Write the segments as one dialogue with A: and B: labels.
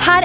A: her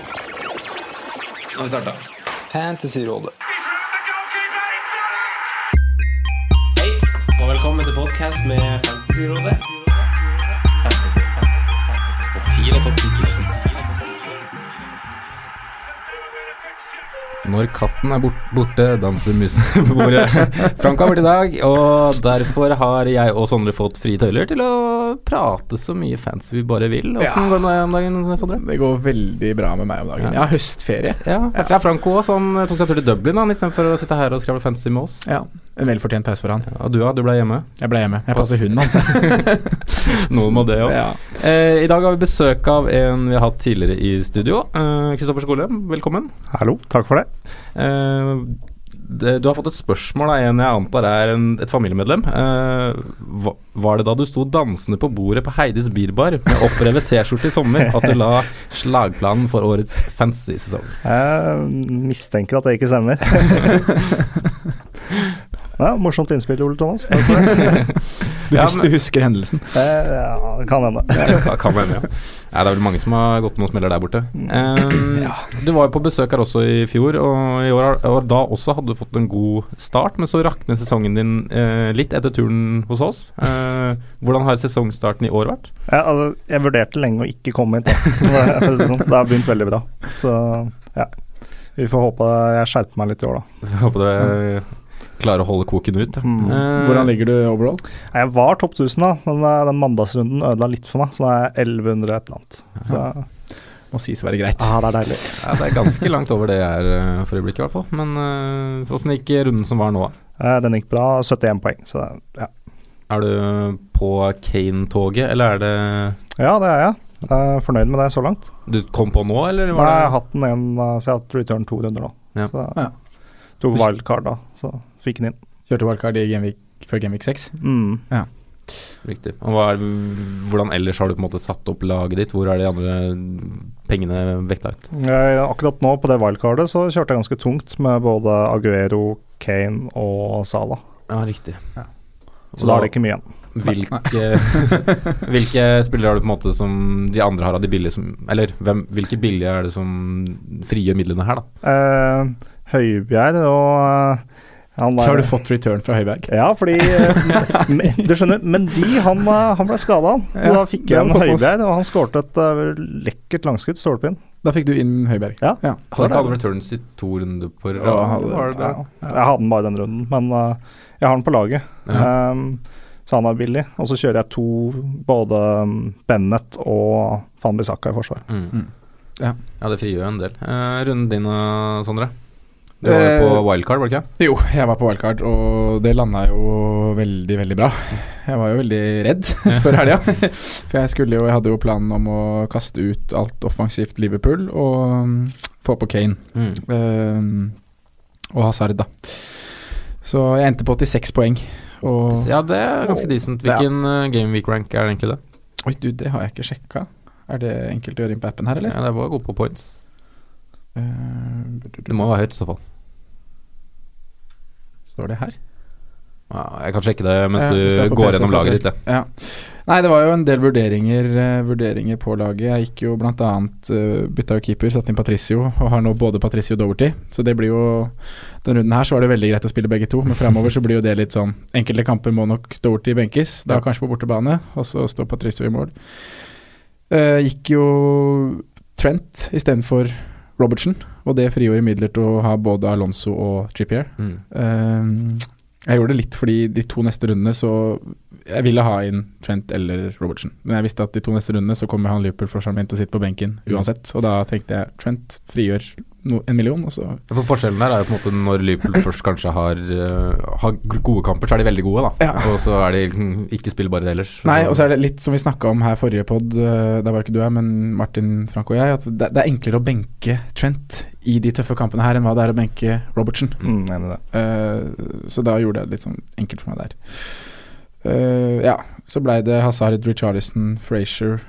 B: Nå har vi starta. Fantasyrådet.
C: Hei, og velkommen til podcast med Fantasyrådet. Topp 10 eller topp 10?
B: Når katten er bort, borte, danser musen på bordet. Frank har vært i dag, og derfor har jeg og Sondre fått frie tøyler til å prate så mye fancy vi bare vil. Åssen går det med deg om dagen, Sondre?
D: Det går veldig bra med meg om dagen.
B: Ja.
D: Jeg har høstferie.
B: Ja, ja Franco også, han tok seg en tur til Dublin han, istedenfor å sitte her og skravle fancy med oss.
D: Ja, En velfortjent pause for han.
B: Ja, du ja, du ble hjemme.
D: Jeg ble hjemme. Jeg passer hunden hans.
B: Noen må det òg.
D: Ja.
B: Eh, I dag har vi besøk av en vi har hatt tidligere i studio. Eh, Kristoffer Skole, velkommen.
D: Hallo, takk for det.
B: Eh, det, du har fått et spørsmål av en jeg antar er en, et familiemedlem. Eh, hva, var det da du sto dansende på bordet på Heidis bilbar med opprevet T-skjorte i sommer, at du la slagplanen for årets fancy sesong?
D: Jeg mistenker at det ikke stemmer. ja, morsomt innspill, Ole Thomas. Takk for det. Du,
B: Ja,
D: hus
B: men-
D: du husker hendelsen? Ja, det kan hende.
B: Ja, kan hende, ja. Nei, det er vel mange som har gått på noen smeller der borte. Eh, Du var jo på besøk her også i fjor, og i år, har- og da også hadde du fått en god start, men så raknet sesongen din eh, litt etter turen hos oss. Eh, hvordan har sesongstarten i år vært?
D: Ja, altså, jeg vurderte lenge å ikke komme hit. Da. Det er sånn, det har begynt veldig bra. Så ja. Vi får håpe jeg skjerper meg litt i år, da.
B: Jeg håper du klarer å holde koken ut. da. Eh,
D: Hvordan ligger du overall? Jeg var topp 1000, da, men eh, den mandagsrunden ødela litt for meg. Så nå er jeg 1100 et eller annet. Så, Må sies å være greit.
B: Ah.
D: Ja, Ah, det er deilig.
B: Ja, det er ganske langt over det jeg er eh, for øyeblikket, i hvert fall. Men eh, åssen gikk runden som var nå?
D: Eh, Den gikk bra. 71 poeng, så det- ja.
B: Er du på Kane-toget, eller er det
D: Ja, det er jeg. jeg er fornøyd med det så langt.
B: du kom på nå, eller
D: Nå
B: var
D: har jeg
B: det
D: hatt den en, eh, så jeg har hatt return to runder nå.
B: Ja.
D: Så, Tok wildcard da, så fikk den inn.
E: Kjørte wildcard i Genvik før Genvik 6.
D: Mm.
B: Riktig. Og hva er, hvordan ellers har du på en måte satt opp laget ditt? Hvor er de andre pengene vektlagt?
D: Jeg, akkurat nå på det wildcardet så kjørte jeg ganske tungt med både Aguero, Kane og Salah
B: Ja, riktig.
D: Så da er det ikke mye igjen.
B: Hvilke, hvilke spillere har du på en måte som de andre har av de billige som Eller hvem, hvilke billige er det som frigjør midlene her, da?
D: Eh, Høibjerg og eh, han der-
E: Har du fått return fra Høiberg?
D: Ja, fordi eh, men- Du skjønner, men de, han, eh, han ble skada. Så da
E: Ja,
D: fikk
E: det
D: jeg en
E: var på oss.
D: Høibjerg, og han skårte et eh, lekkert langskudd, stolpe inn.
E: Da fikk du inn Høiberg.
D: Ja.
B: Hadde ikke alle returns i to runder på rad?
E: Ja, hadde-
B: var det det?
D: Ja, jeg hadde den bare den runden, men eh, jeg har den på laget. Ehm, så han er billig. Og så kjører jeg to, både um, Bennett og Van Bissaka i forsvar.
B: Mm.
E: Ja.
B: ja, det frigjør jo en del. Eh, runden din, eh, Sondre? Du var jo på
E: Eh,
B: wildcard, var det ikke?
E: Jo, jeg var på wildcard, og det landa jo veldig, veldig bra. Jeg var jo veldig redd før helga. For jeg skulle jo Jeg hadde jo planen om å kaste ut alt offensivt Liverpool og mm, få på Kane eh, og Hazard, da. Så jeg endte på 86 poeng. Og
B: Ja, det er ganske decent. Hvilken eh, game week rank er det egentlig det?
E: Oi, du, det har jeg ikke sjekka. Er det enkelt å gjøre inn på appen her, eller?
B: Ja, det var god på points.
E: Eh,
B: Det må være høyt i så fall.
E: står det her?
B: Ja, jeg kan sjekke det mens
E: Ja, hvis
B: du
E: er på PC,
B: går gjennom
E: så
B: laget
E: det-
B: ditt. Ja.
E: Ja. Nei, det var jo en del vurderinger, eh, vurderinger på laget. Jeg gikk jo blant annet eh, bytta jo keeper, satte inn Patricio, og har nå både Patricio og Doverty. Så det blir jo Den runden her så var det veldig greit å spille begge to, men framover så blir jo det litt sånn Enkelte kamper må nok Doverty benkes, da
B: Ja.
E: kanskje på bortebane, og så står Patricio i mål. Eh, gikk jo Trent istedenfor Robertsen, og det frigjorde midler til å ha både Alonso og Trippier.
B: Mm.
E: Ehm, jeg gjorde det litt fordi de to neste rundene så Jeg ville ha inn Trent eller Robertsen. Men jeg visste at de to neste rundene så kommer han Liverpool for sjarmint og sitter på benken uansett. Og da tenkte jeg Trent frigjør no, en million, og så
B: For Forskjellen der er jo på en måte når Liverpool først kanskje har, eh, har gode kamper, så er de veldig gode, da. Og så er de mm, ikke spillbare ellers.
E: Nei, og så er det litt som vi snakka om her forrige pod, der var ikke du her, men Martin Frank og jeg, at det, det er enklere å benke Trent i de tøffe kampene her enn hva det er å benke Robertsen.
D: Mm, enig i det.
E: Eh, så da gjorde jeg det litt sånn enkelt for meg der. Eh, ja, så blei det Hazard, Richarlison, Frazier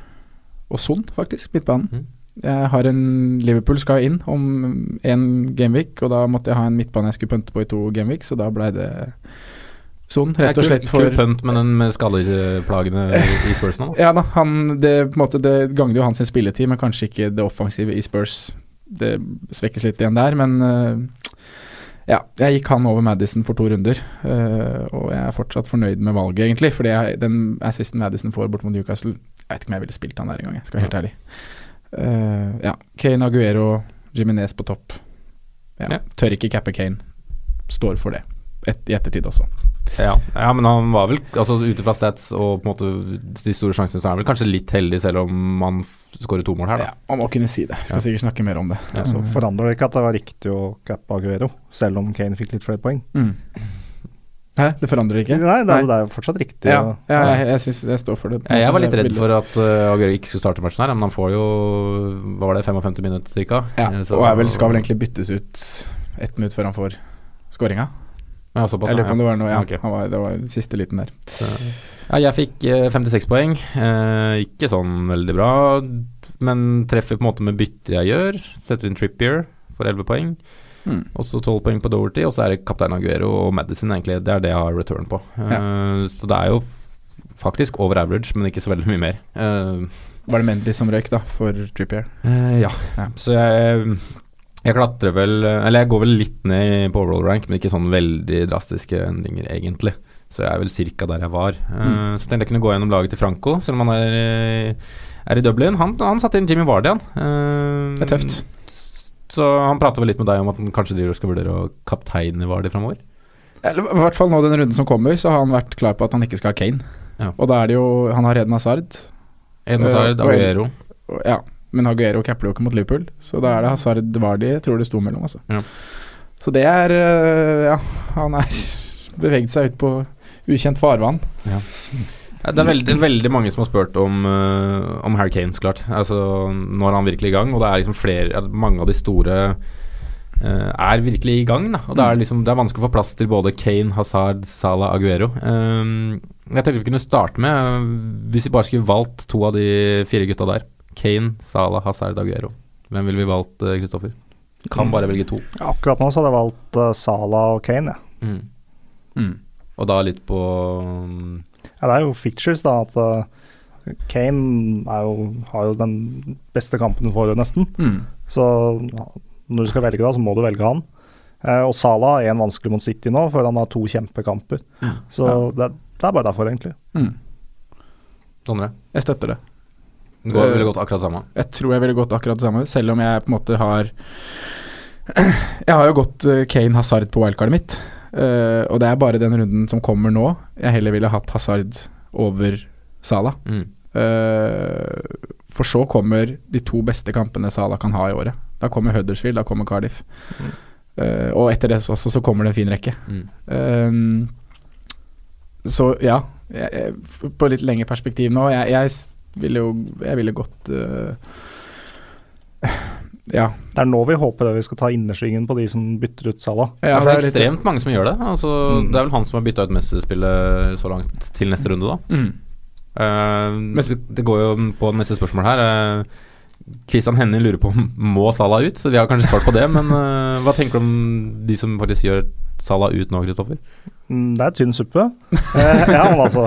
E: og Son, faktisk, midtbanen.
B: Mhm.
E: Jeg har en Liverpool skal inn om én gameweek, og da måtte jeg ha en midtbane jeg skulle pønte på i to gameweek, så da blei det Son, rett og slett for
B: Kul pønt med den med skadeplagene i Spurs nå.
E: ja da, han, det, på en måte, det gagner jo hans sin spilletid, men kanskje ikke det offensive i Spurs. Det svekkes litt igjen der, men øh, ja. Jeg gikk han over Madison for to runder, øh, og jeg er fortsatt fornøyd med valget, egentlig. Fordi jeg, den assisten Madison får bort mot Newcastle, jeg vet ikke om jeg ville spilt han der engang, jeg skal være helt ærlig. Eh, ja. Kane Aguero, Jiminez på topp. Ja.
B: Ja.
E: Tør ikke cappe Kane. Står for det. Et, I ettertid også.
B: Ja. ja, men han var vel altså ut fra stats og på en måte de store sjansene, så er han vel kanskje litt heldig, selv om han f- skårer to mål her, da.
E: Ja, man må kunne si det. Skal sikkert snakke mer om det.
D: Så forandrer det ikke at det var riktig å cappe Aguero, selv om Kane fikk litt flere poeng.
E: Mm. Hæ, det forandrer ikke?
D: Nei, det, er- altså, det er jo fortsatt riktig.
E: Ja,
D: å-
E: ja jeg, jeg, synes, jeg står for det.
B: Ja, Jeg var litt redd for at eh, Aguero ikke skulle starte matchen her, men han får jo hva var det, 55 minutter ca.
E: ja, Og er vel, skal vel egentlig byttes ut ett minutt før han får skåringa.
B: ja, såpass,
E: Jeg lurer på om det var noe ja,
B: Ok.
E: han var, Det var siste liten der.
B: Ja, jeg fikk eh, 56 poeng. Eh, ikke sånn veldig bra, men treffer på en måte med byttet jeg gjør. Setter inn Trippier for 11 poeng,
E: Mm.
B: og så 12 poeng på Doverty, og så er det kaptein Aguero og Madison, egentlig. Det er det jeg har return på. Eh, Så det er jo f- faktisk over average, men ikke så veldig mye mer. Eh,
E: Var det Mendy som røyk, da, for Trippier?
B: Eh, ja.
E: Ja.
B: Så jeg, eh, jeg klatrer vel eh, Eller jeg går vel litt ned på overall rank, men ikke sånn veldig drastiske endringer, egentlig. Så jeg er vel cirka der jeg var. Eh,
E: Mm.
B: Så tenkte jeg kunne gå gjennom laget til Franco, selv om han er, eh, er i Dublin. Han, han satte inn Jimmy Vardy, han. Eh,
E: Det er tøft.
B: Så han prata vel litt med deg om at han kanskje driver og skal vurdere å kapteine Vardy framover?
E: Eller, I hvert fall nå den runden som kommer, så har han vært klar på at han ikke skal ha Kane.
B: Ja.
E: Og da er det jo Han har Eden Hazard.
B: Eden
E: Eh,
B: Hazard,
E: og-
B: Aguero.
E: Og, ja, men Aguero capper jo ikke mot Liverpool, så da er det Hazard Vardi jeg tror det sto mellom, altså.
B: Ja.
E: Så det er øh, Ja, han er beveget seg ut på ukjent farvann.
B: Ja, Det er veldig, veldig mange som har spurt om, uh, om Harry Kane, så klart. Altså, nå er han virkelig i gang, og det er liksom flere at Mange av de store eh, er virkelig i gang. Da. Og det er, liksom, det er vanskelig å få plass til både Kane, Hazard, Salah, Aguero. Um, jeg tenkte vi kunne starte med, eh, hvis vi bare skulle valgt to av de fire gutta der Kane, Salah, Hazard, Aguero. Hvem ville vi valgt, eh, Kristoffer? Kan bare velge to.
D: Akkurat nå så hadde jeg valgt uh, Sala og Kane, jeg.
B: Og da litt på um,
D: Ja, det er jo features, da. At uh, Kane er jo, har jo den beste kampen du får, nesten.
E: Mm.
D: Så ja, når du skal velge, da, så må du velge han. Eh, og Salah er en vanskelig mot City nå, for han har to kjempekamper. Så det, det er bare derfor, egentlig.
B: Sondre.
E: Jeg støtter det.
B: Det går veldig godt akkurat samme.
E: Jeg tror jeg ville gått akkurat det samme, selv om jeg på en måte har Jeg har jo gått eh, Kane Hazard på wildcardet mitt, eh, og det er bare den runden som kommer nå jeg heller ville hatt Hazard over Salah.
B: Mm.
E: Eh, for så kommer de to beste kampene Salah kan ha i året. Da kommer Huddersfield, da kommer Cardiff. Eh, og etter det også så kommer det en fin rekke.
B: Mm.
E: Ehm, så ja, jeg, jeg, på litt lengre perspektiv nå Jeg, jeg s- ville jo Jeg ville gått øh, Ja.
D: Det er nå vi håper det vi skal ta innersvingen på de som bytter ut Salah.
B: Ja, for det er
E: litt-
B: ekstremt mange som gjør det. Altså, Det er vel han som har bytta ut mesterspillet så langt til neste runde, da.
E: Mm.
B: Eh, det går jo på neste spørsmål her. Eh, Christian Henning lurer på om må Salah ut, så vi har kanskje svart på det. Men eh, hva tenker du om de som faktisk gjør Salah ut nå, Kristoffer?
D: Mm, det er tynn suppe. Eh, ja, men altså.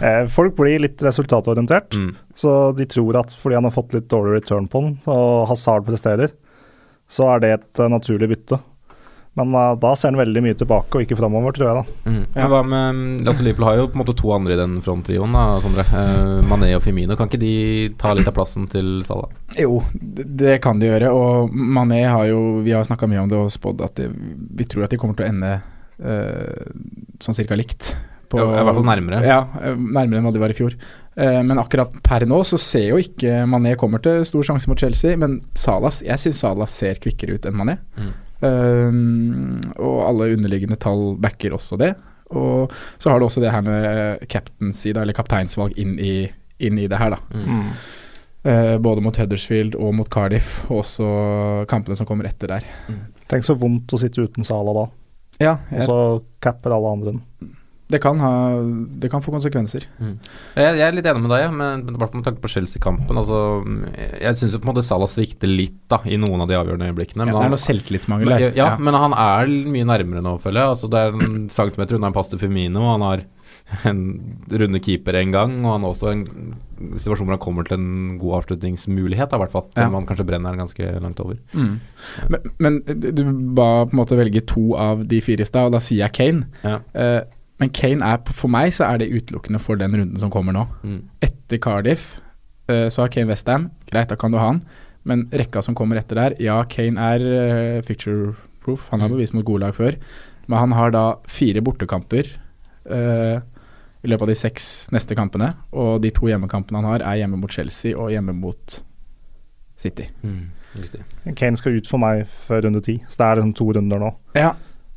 D: Eh, folk blir litt resultatorientert.
B: Mm.
D: Så de tror at fordi han har fått litt dårlig return på den, og Hazard presterer, så er det et eh, naturlig bytte. Men eh, da ser han veldig mye tilbake og ikke framover, tror jeg. da
B: Mm. Men hva med altså Liverpool har jo på en måte to andre i den fronttrioen, da, Sondre. Eh, Mané og Firmino. Kan ikke de ta litt av plassen til Salah?
E: Jo, det det kan de gjøre. Og Mané har jo Vi har snakka mye om det og spådd at det, vi tror at de kommer til å ende eh, sånn cirka likt. på-
B: Ja, i hvert fall nærmere.
E: Ja, eh, nærmere enn hva de var i fjor. Eh, men akkurat per nå så ser jo ikke Mané kommer til stor sjanse mot Chelsea. Men Salas, jeg syns Salas ser kvikkere ut enn Mané.
B: Mm.
E: Eh, og alle underliggende tall backer også det. Og så har du også det her med captaincy, da, eller kapteinsvalg, inn i, inn i det her, da. Eh, både mot Huddersfield og mot Cardiff, og også kampene som kommer etter der.
D: Tenk så vondt å sitte uten Sala da,
E: Ja,
D: og
E: jeg,
D: så capper alle andre den.
E: Eh, det, kan ha, det kan få konsekvenser.
B: Jeg, jeg er litt enig med deg, ja, men men bare med tanke på Chelsea-kampen. Altså, jeg- jeg syns jo på en måte Salah svikter litt da, i noen av de avgjørende øyeblikkene.
E: Ja,
B: men
E: det er
B: han-
E: noe selvtillitsmangel
B: Men,
E: der.
B: ja, men han er mye nærmere nå, føler jeg. Altså, det er en centimeter unna en pass til Firmino. Han har en runde keeper en gang, og han har også en situasjon hvor han kommer til en god avslutningsmulighet, da, i hvert fall.
E: Ja.
B: Selv om han kanskje brenner den ganske langt over.
E: Mm. Men, men du ba på en måte velge to av de fire i stad, og da sier jeg Kane.
B: Ja.
E: Eh, men Kane er, for meg så er det utelukkende for den runden som kommer nå.
B: Mm.
E: Etter Cardiff eh, så har Kane Westham, greit, da kan du ha han. Men rekka som kommer etter der, ja, Kane er eh, picture proof. Han har
B: Mm.
E: bevist mot gode lag før. Men han har da fire bortekamper eh, i løpet av de seks neste kampene. Og de to hjemmekampene han har, er hjemme mot Chelsea og hjemme mot City.
B: Mm. Riktig.
D: Kane skal ut for meg før runde ti, så det er liksom to runder nå.
E: Ja.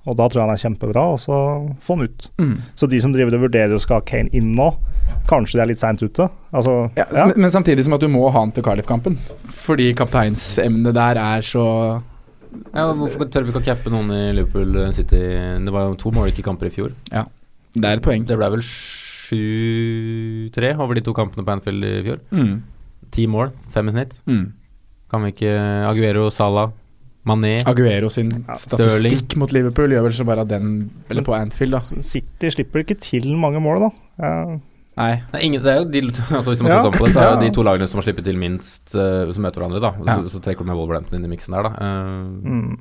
D: Og da tror jeg han er kjempebra, og så få han ut.
E: Mm.
D: Så de som driver og vurderer å skal ha Kane inn nå, kanskje de er litt seint ute. Altså,
E: Ja,
D: ja.
E: Men, men samtidig som at du må ha han til Cardiff-kampen. Fordi kapteinsemnet der er så
B: Ja, og hvorfor tør vi ikke å cappe noen i Liverpool eh, City? Det var jo to Morricky-kamper i fjor.
E: Det er et poeng.
B: Det ble vel 7-3 over de to kampene på Anfield i fjor.
E: Mm.
B: Ti mål, fem i snitt.
E: Mm.
B: Kan vi ikke Aguero, Salah, Mané
E: Aguero sin statistikk
B: Sterling.
E: mot Liverpool gjør vel så bare at den Eller på Anfield, da.
D: City slipper ikke til mange mål, da. Eh,
E: Nei.
B: Det er, ingen, det er jo de, altså hvis man
D: Ja.
B: ser sånn på det, så er jo
D: Ja.
B: de to lagene som har sluppet til minst, eh, som møter hverandre, da. Og
E: Ja.
B: Så, så trekker du med Wolverhampton inn i miksen der, da. Eh,
D: mm.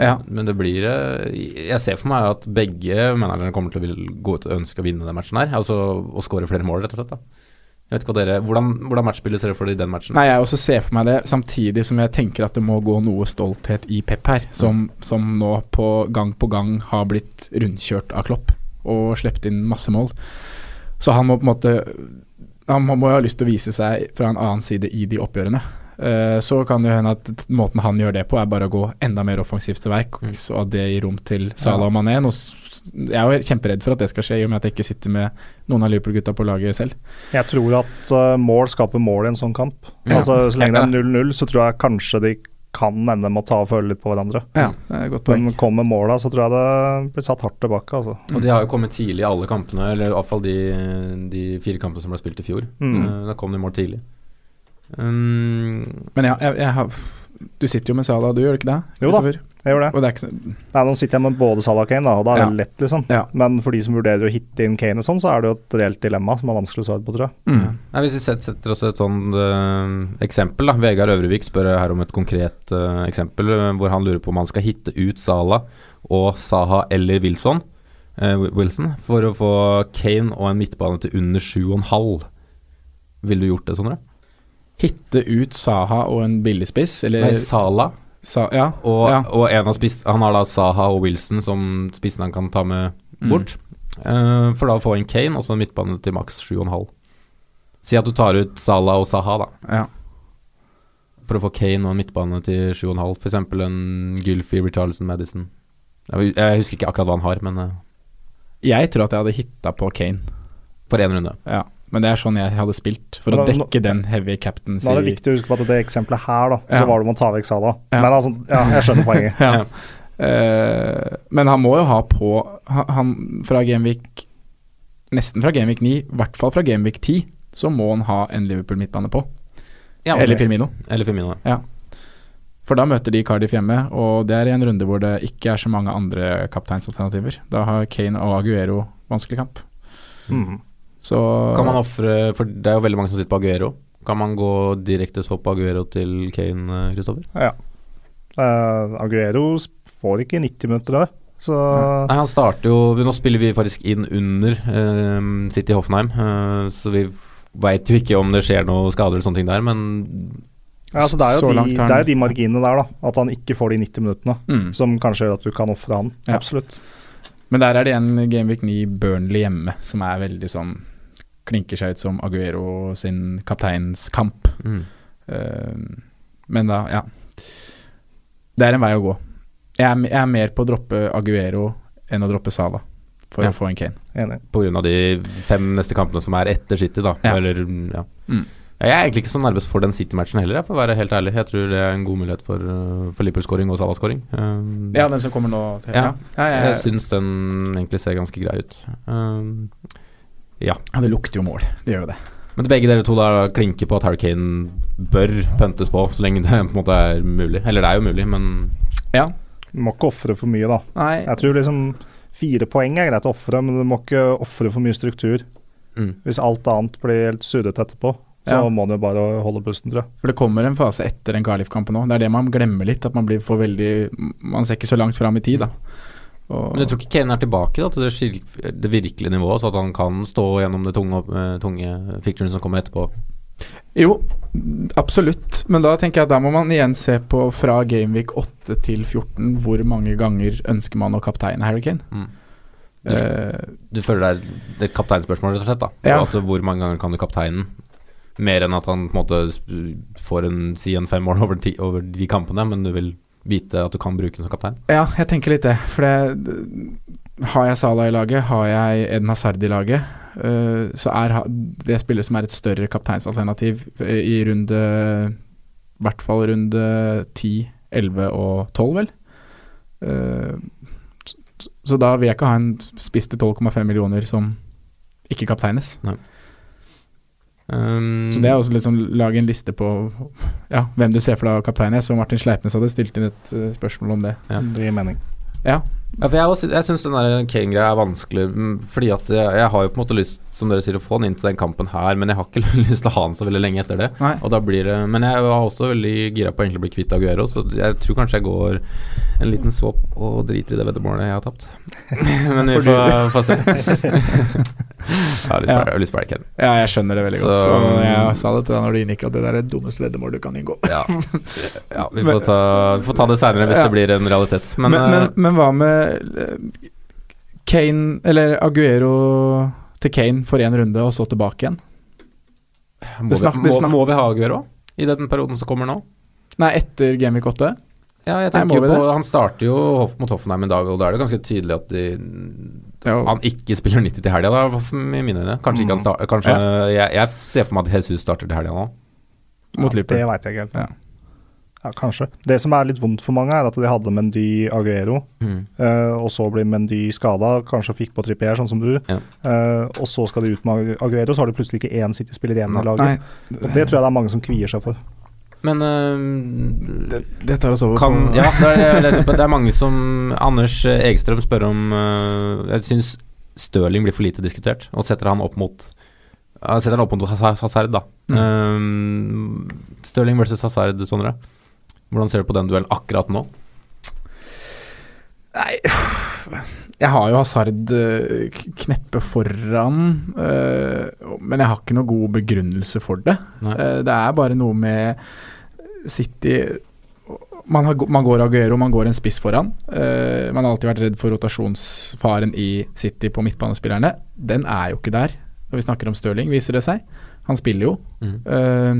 E: Ja.
B: Men det blir eh, Jeg ser for meg at begge managerne kommer til å vil gå ut og ønske å vinne den matchen her. Altså å skåre flere mål, rett og slett. da Jeg vet ikke hva dere Hvordan, hvordan matchbildet ser dere for dere i den matchen?
E: Nei, jeg også ser for meg det, samtidig som jeg tenker at det må gå noe stolthet i Pep her, som, som nå på gang på gang har blitt rundkjørt av Klopp og sluppet inn masse mål. Så han må på en måte Han må må jo ha lyst til å vise seg fra en annen side i de oppgjørene. Eh, Så kan det jo hende at måten han gjør det på, er bare å gå enda mer offensivt til verk,
B: Mm.
E: så at det gir rom til Salah og Mané. Noe s- jeg er jo kjemperedd for at det skal skje, i og med at jeg ikke sitter med noen av Liverpool-gutta på laget selv.
D: Jeg tror at eh, mål skaper mål i en sånn kamp.
E: Ja.
D: Altså, så lenge det
E: Ja.
D: er 0-0, så tror jeg kanskje de kan ende med å ta og føle litt på hverandre.
E: Ja, det er et godt poeng.
D: Men kommer måla, så tror jeg det blir satt hardt tilbake, altså.
B: Og de har jo kommet tidlig i alle kampene, eller iallfall de, de fire kampene som ble spilt i fjor.
D: Mm.
B: Eh, Da kom de mål tidlig. Um,
E: Men ja, jeg, jeg har Du sitter jo med Salah, du gjør ikke det?
D: Jo da.
E: Christopher?
D: Jeg gjør det.
E: Og det er ikke så
D: Nei, nå sitter jeg med både Salah og Kane, da, og da er det lett, liksom.
E: Ja.
D: Men for de som vurderer å hitte inn Kane og sånn, så er det jo et reelt dilemma som er vanskelig å svare på, tror jeg.
E: mm.
B: Nei, hvis vi set- setter oss et sånn eh, eksempel, da. Vegard Øvrevik spør her om et konkret eh, eksempel eh, hvor han lurer på om han skal hitte ut Sala og Saha eller Wilson, eh, Wi- Wilson for å få Kane og en midtbane til under 7,5. Ville du gjort det, Sondre?
E: Hitte ut Saha og en billigspiss, eller
B: Nei, Sala
E: Sa- ja.
B: og,
E: ja.
B: og en av spiss... Han har da Saha og Wilson som spissen han kan ta med bort. Eh, for da å få inn Kane og så en midtbane til maks 7,5. Si at du tar ut Sala og Saha, da.
E: Ja.
B: for å få Kane og en midtbane til 7,5, f.eks. en Gylfi, Richarlison, Madison. Jeg, jeg husker ikke akkurat hva han har, men eh,
E: Jeg tror at jeg hadde hitta på Kane,
B: for én runde.
E: ja. men det er sånn jeg hadde spilt, for
D: Men
E: å
D: da-
E: dekke den heavy captains
D: Nå er det
E: i
D: viktig å huske på at det eksempelet her, da,
E: Ja.
D: så var det om å ta vekk Salah.
E: Ja.
D: Men altså, ja, jeg skjønner poenget.
E: ja. Eh, Men han må jo ha på han- Han fra Genvik Nesten fra Genvik 9, i hvert fall fra Genvik 10, så må han ha en Liverpool-midtbane på.
B: Ja,
E: Eller Firmino.
B: Eller Firmino.
E: For da møter de Cardiff hjemme, og det er i en runde hvor det ikke er så mange andre kapteinsalternativer. Da har Kane og Aguero vanskelig kamp.
D: Mm.
E: Så
B: Kan man ofre For det er jo veldig mange som sitter på Aguero. Kan man gå direkte så på Aguero til Kane, eh, Kristoffer?
D: Ja. Eh, Aguero s- får ikke 90 minutter der, så
B: Nei, han starter jo Nå spiller vi faktisk inn under eh, City Hoffenheim, eh, så vi veit jo ikke om det skjer noe skader eller sånne ting der, men
D: ja, altså det, er
E: Så
D: jo de,
E: langt har han-
D: det er jo de marginene der, da. At han ikke får de 90 minuttene,
E: Mm.
D: som kanskje gjør at du kan ofre han.
E: Ja.
D: Absolutt.
E: Men der er det igjen Gameweek 9 Burnley hjemme, som er veldig sånn Klinker seg ut som Aguero sin kapteinskamp.
B: mm.
E: Eh, men da, ja. Det er en vei å gå. Jeg er, jeg er mer på å droppe Aguero enn å droppe Sala for
B: Ja.
E: å få en Kane.
D: Enig.
B: På grunn av de fem neste kampene som er etter City, da.
E: Ja.
B: Eller, mm, ja.
E: Mm.
B: Jeg er egentlig ikke så nervøs for den City-matchen heller, jeg, for å være helt ærlig. Jeg tror det er en god mulighet for, eh, for Liverpool-scoring og Salah-scoring. Um,
E: Ja, den som kommer nå. Til,
B: Ja.
E: Ja,
B: jeg
E: jeg-
B: syns den egentlig ser ganske grei ut. Um,
E: ja, det lukter jo mål. Det gjør jo det.
B: men begge dere to da klinker på at Harry Kane bør pøntes på, så lenge det på en måte er mulig. Eller det er jo mulig, men
D: Må ikke ofre for mye, da.
E: Nei,
D: Jeg tror liksom fire poeng er greit å ofre, men du må ikke ofre for mye struktur.
B: Mm.
D: Hvis alt annet blir helt surret etterpå, så
E: Ja.
D: må du bare holde pusten, tror jeg.
E: For det kommer en fase etter den Carlif-kampen òg. Det er det man glemmer litt. At man blir for veldig Man ser ikke så langt fram i tid, da. Og,
B: Men jeg tror ikke Kane er tilbake da, til det, skil- det virkelige nivået, så at han kan stå gjennom det tunge, eh, tunge fikturen som kommer etterpå.
E: Jo, absolutt. Men da tenker jeg at da må man igjen se på fra Gameweek 8 til 14 hvor mange ganger ønsker man å kapteine Harry Kane.
B: Mm.
E: Eh,
B: Du føler det er et kapteinspørsmål, rett og slett? da
E: Ja.
B: at Hvor mange ganger kan du kapteinen? Mer enn at han på en måte sp- får en, si en femmål over, ti- over de kampene, men du vil vite at du kan bruke den som kaptein?
E: ja, jeg tenker litt det. For det Har jeg Salah i laget, har jeg Eden Hazard i laget, eh, så er ha- det spillet som er et større kapteinsalternativ eh, i runde I hvert fall runde 10, 11 og 12, vel. Eh, s- s- Så da vil jeg ikke ha en spiss til 12,5 millioner som ikke kapteines.
B: Um,
E: Så det er også liksom lage en liste på ja, hvem du ser for deg av kaptein. Jeg så Martin Sleipnes hadde stilt inn et eh, spørsmål om det.
B: Ja.
D: Det gir mening.
B: Ja, for jeg, også sy- jeg syns den der Kane-greia er vanskelig, mm, fordi at jeg, jeg har jo på en måte lyst, som dere sier, å få han inn til den kampen her, men jeg har ikke lyst til å ha han så veldig lenge etter det.
E: Nei.
B: Og da blir det Men jeg var også veldig gira på å egentlig bli kvitt Aguero, så jeg tror kanskje jeg går en liten swap og driter i det veddemålet jeg har tapt. men vi
E: Får du-
B: får, får se. jeg har lyst på-
E: Ja.
B: jeg har lyst på Harry Kane.
E: Ja, jeg skjønner det veldig
B: Så- um,
E: godt. Og jeg sa det til deg når du inngikk, at det der er det dummeste veddemål du kan inngå.
B: Ja. ja vi, får ta, vi får ta det seinere hvis
E: Ja.
B: det blir en realitet. Men,
E: Men, men,
B: eh,
E: men hva med eh, Kane, eller Aguero til Kane for én runde, og så tilbake igjen?
B: må,
E: det snak-
B: vi,
E: det
B: eh, må,
E: snak-
B: må vi ha Aguero i den perioden som kommer nå?
E: Nei, etter Gamvik 8?
B: Ja, jeg
E: Nei, må
B: tenker
E: vi
B: jo på
E: det?
B: Han starter jo Hoff mot Hoffenheim en dag, og da er det ganske tydelig at de,
E: Ja.
B: han ikke spiller 90 til helga, da, for mine øyne. Kanskje ikke han starter Kanskje jeg, jeg ser for meg at Jesus starter til helga nå.
E: Mot Liverpool.
D: Det veit jeg ikke helt.
E: Ja.
D: Ja, kanskje. Det som er litt vondt for mange, er at de hadde Mendy Aguero,
E: Mm.
D: eh, og så blir Mendy skada, kanskje fikk på Trippier, sånn som du,
B: Ja.
D: eh, og så skal de ut med Aguero, så har de plutselig ikke én City-spiller igjen
E: Nei,
D: i laget. Og det tror jeg det er mange som kvier seg for.
B: Men eh,
E: det, det tar oss over
B: kan
E: på
B: Ja, det er, det er- det er mange som Anders Egstrøm spør om eh, Jeg syns Stirling blir for lite diskutert, og setter han opp mot ja, Setter han opp mot Hazard, Hazard da. Eh, Stirling versus Hazard, Sondre. Hvordan ser du på den duellen akkurat nå?
E: Jeg har jo Hazard øh, k- kneppe foran, øh, men jeg har ikke noe god begrunnelse for det.
B: Nei.
E: Eh, Det er bare noe med City man, har, man går Aguero, man går en spiss foran. Eh, man har alltid vært redd for rotasjonsfaren i City på midtbanespillerne. Den er jo ikke der når vi snakker om Stirling, viser det seg. Han spiller jo. Eh,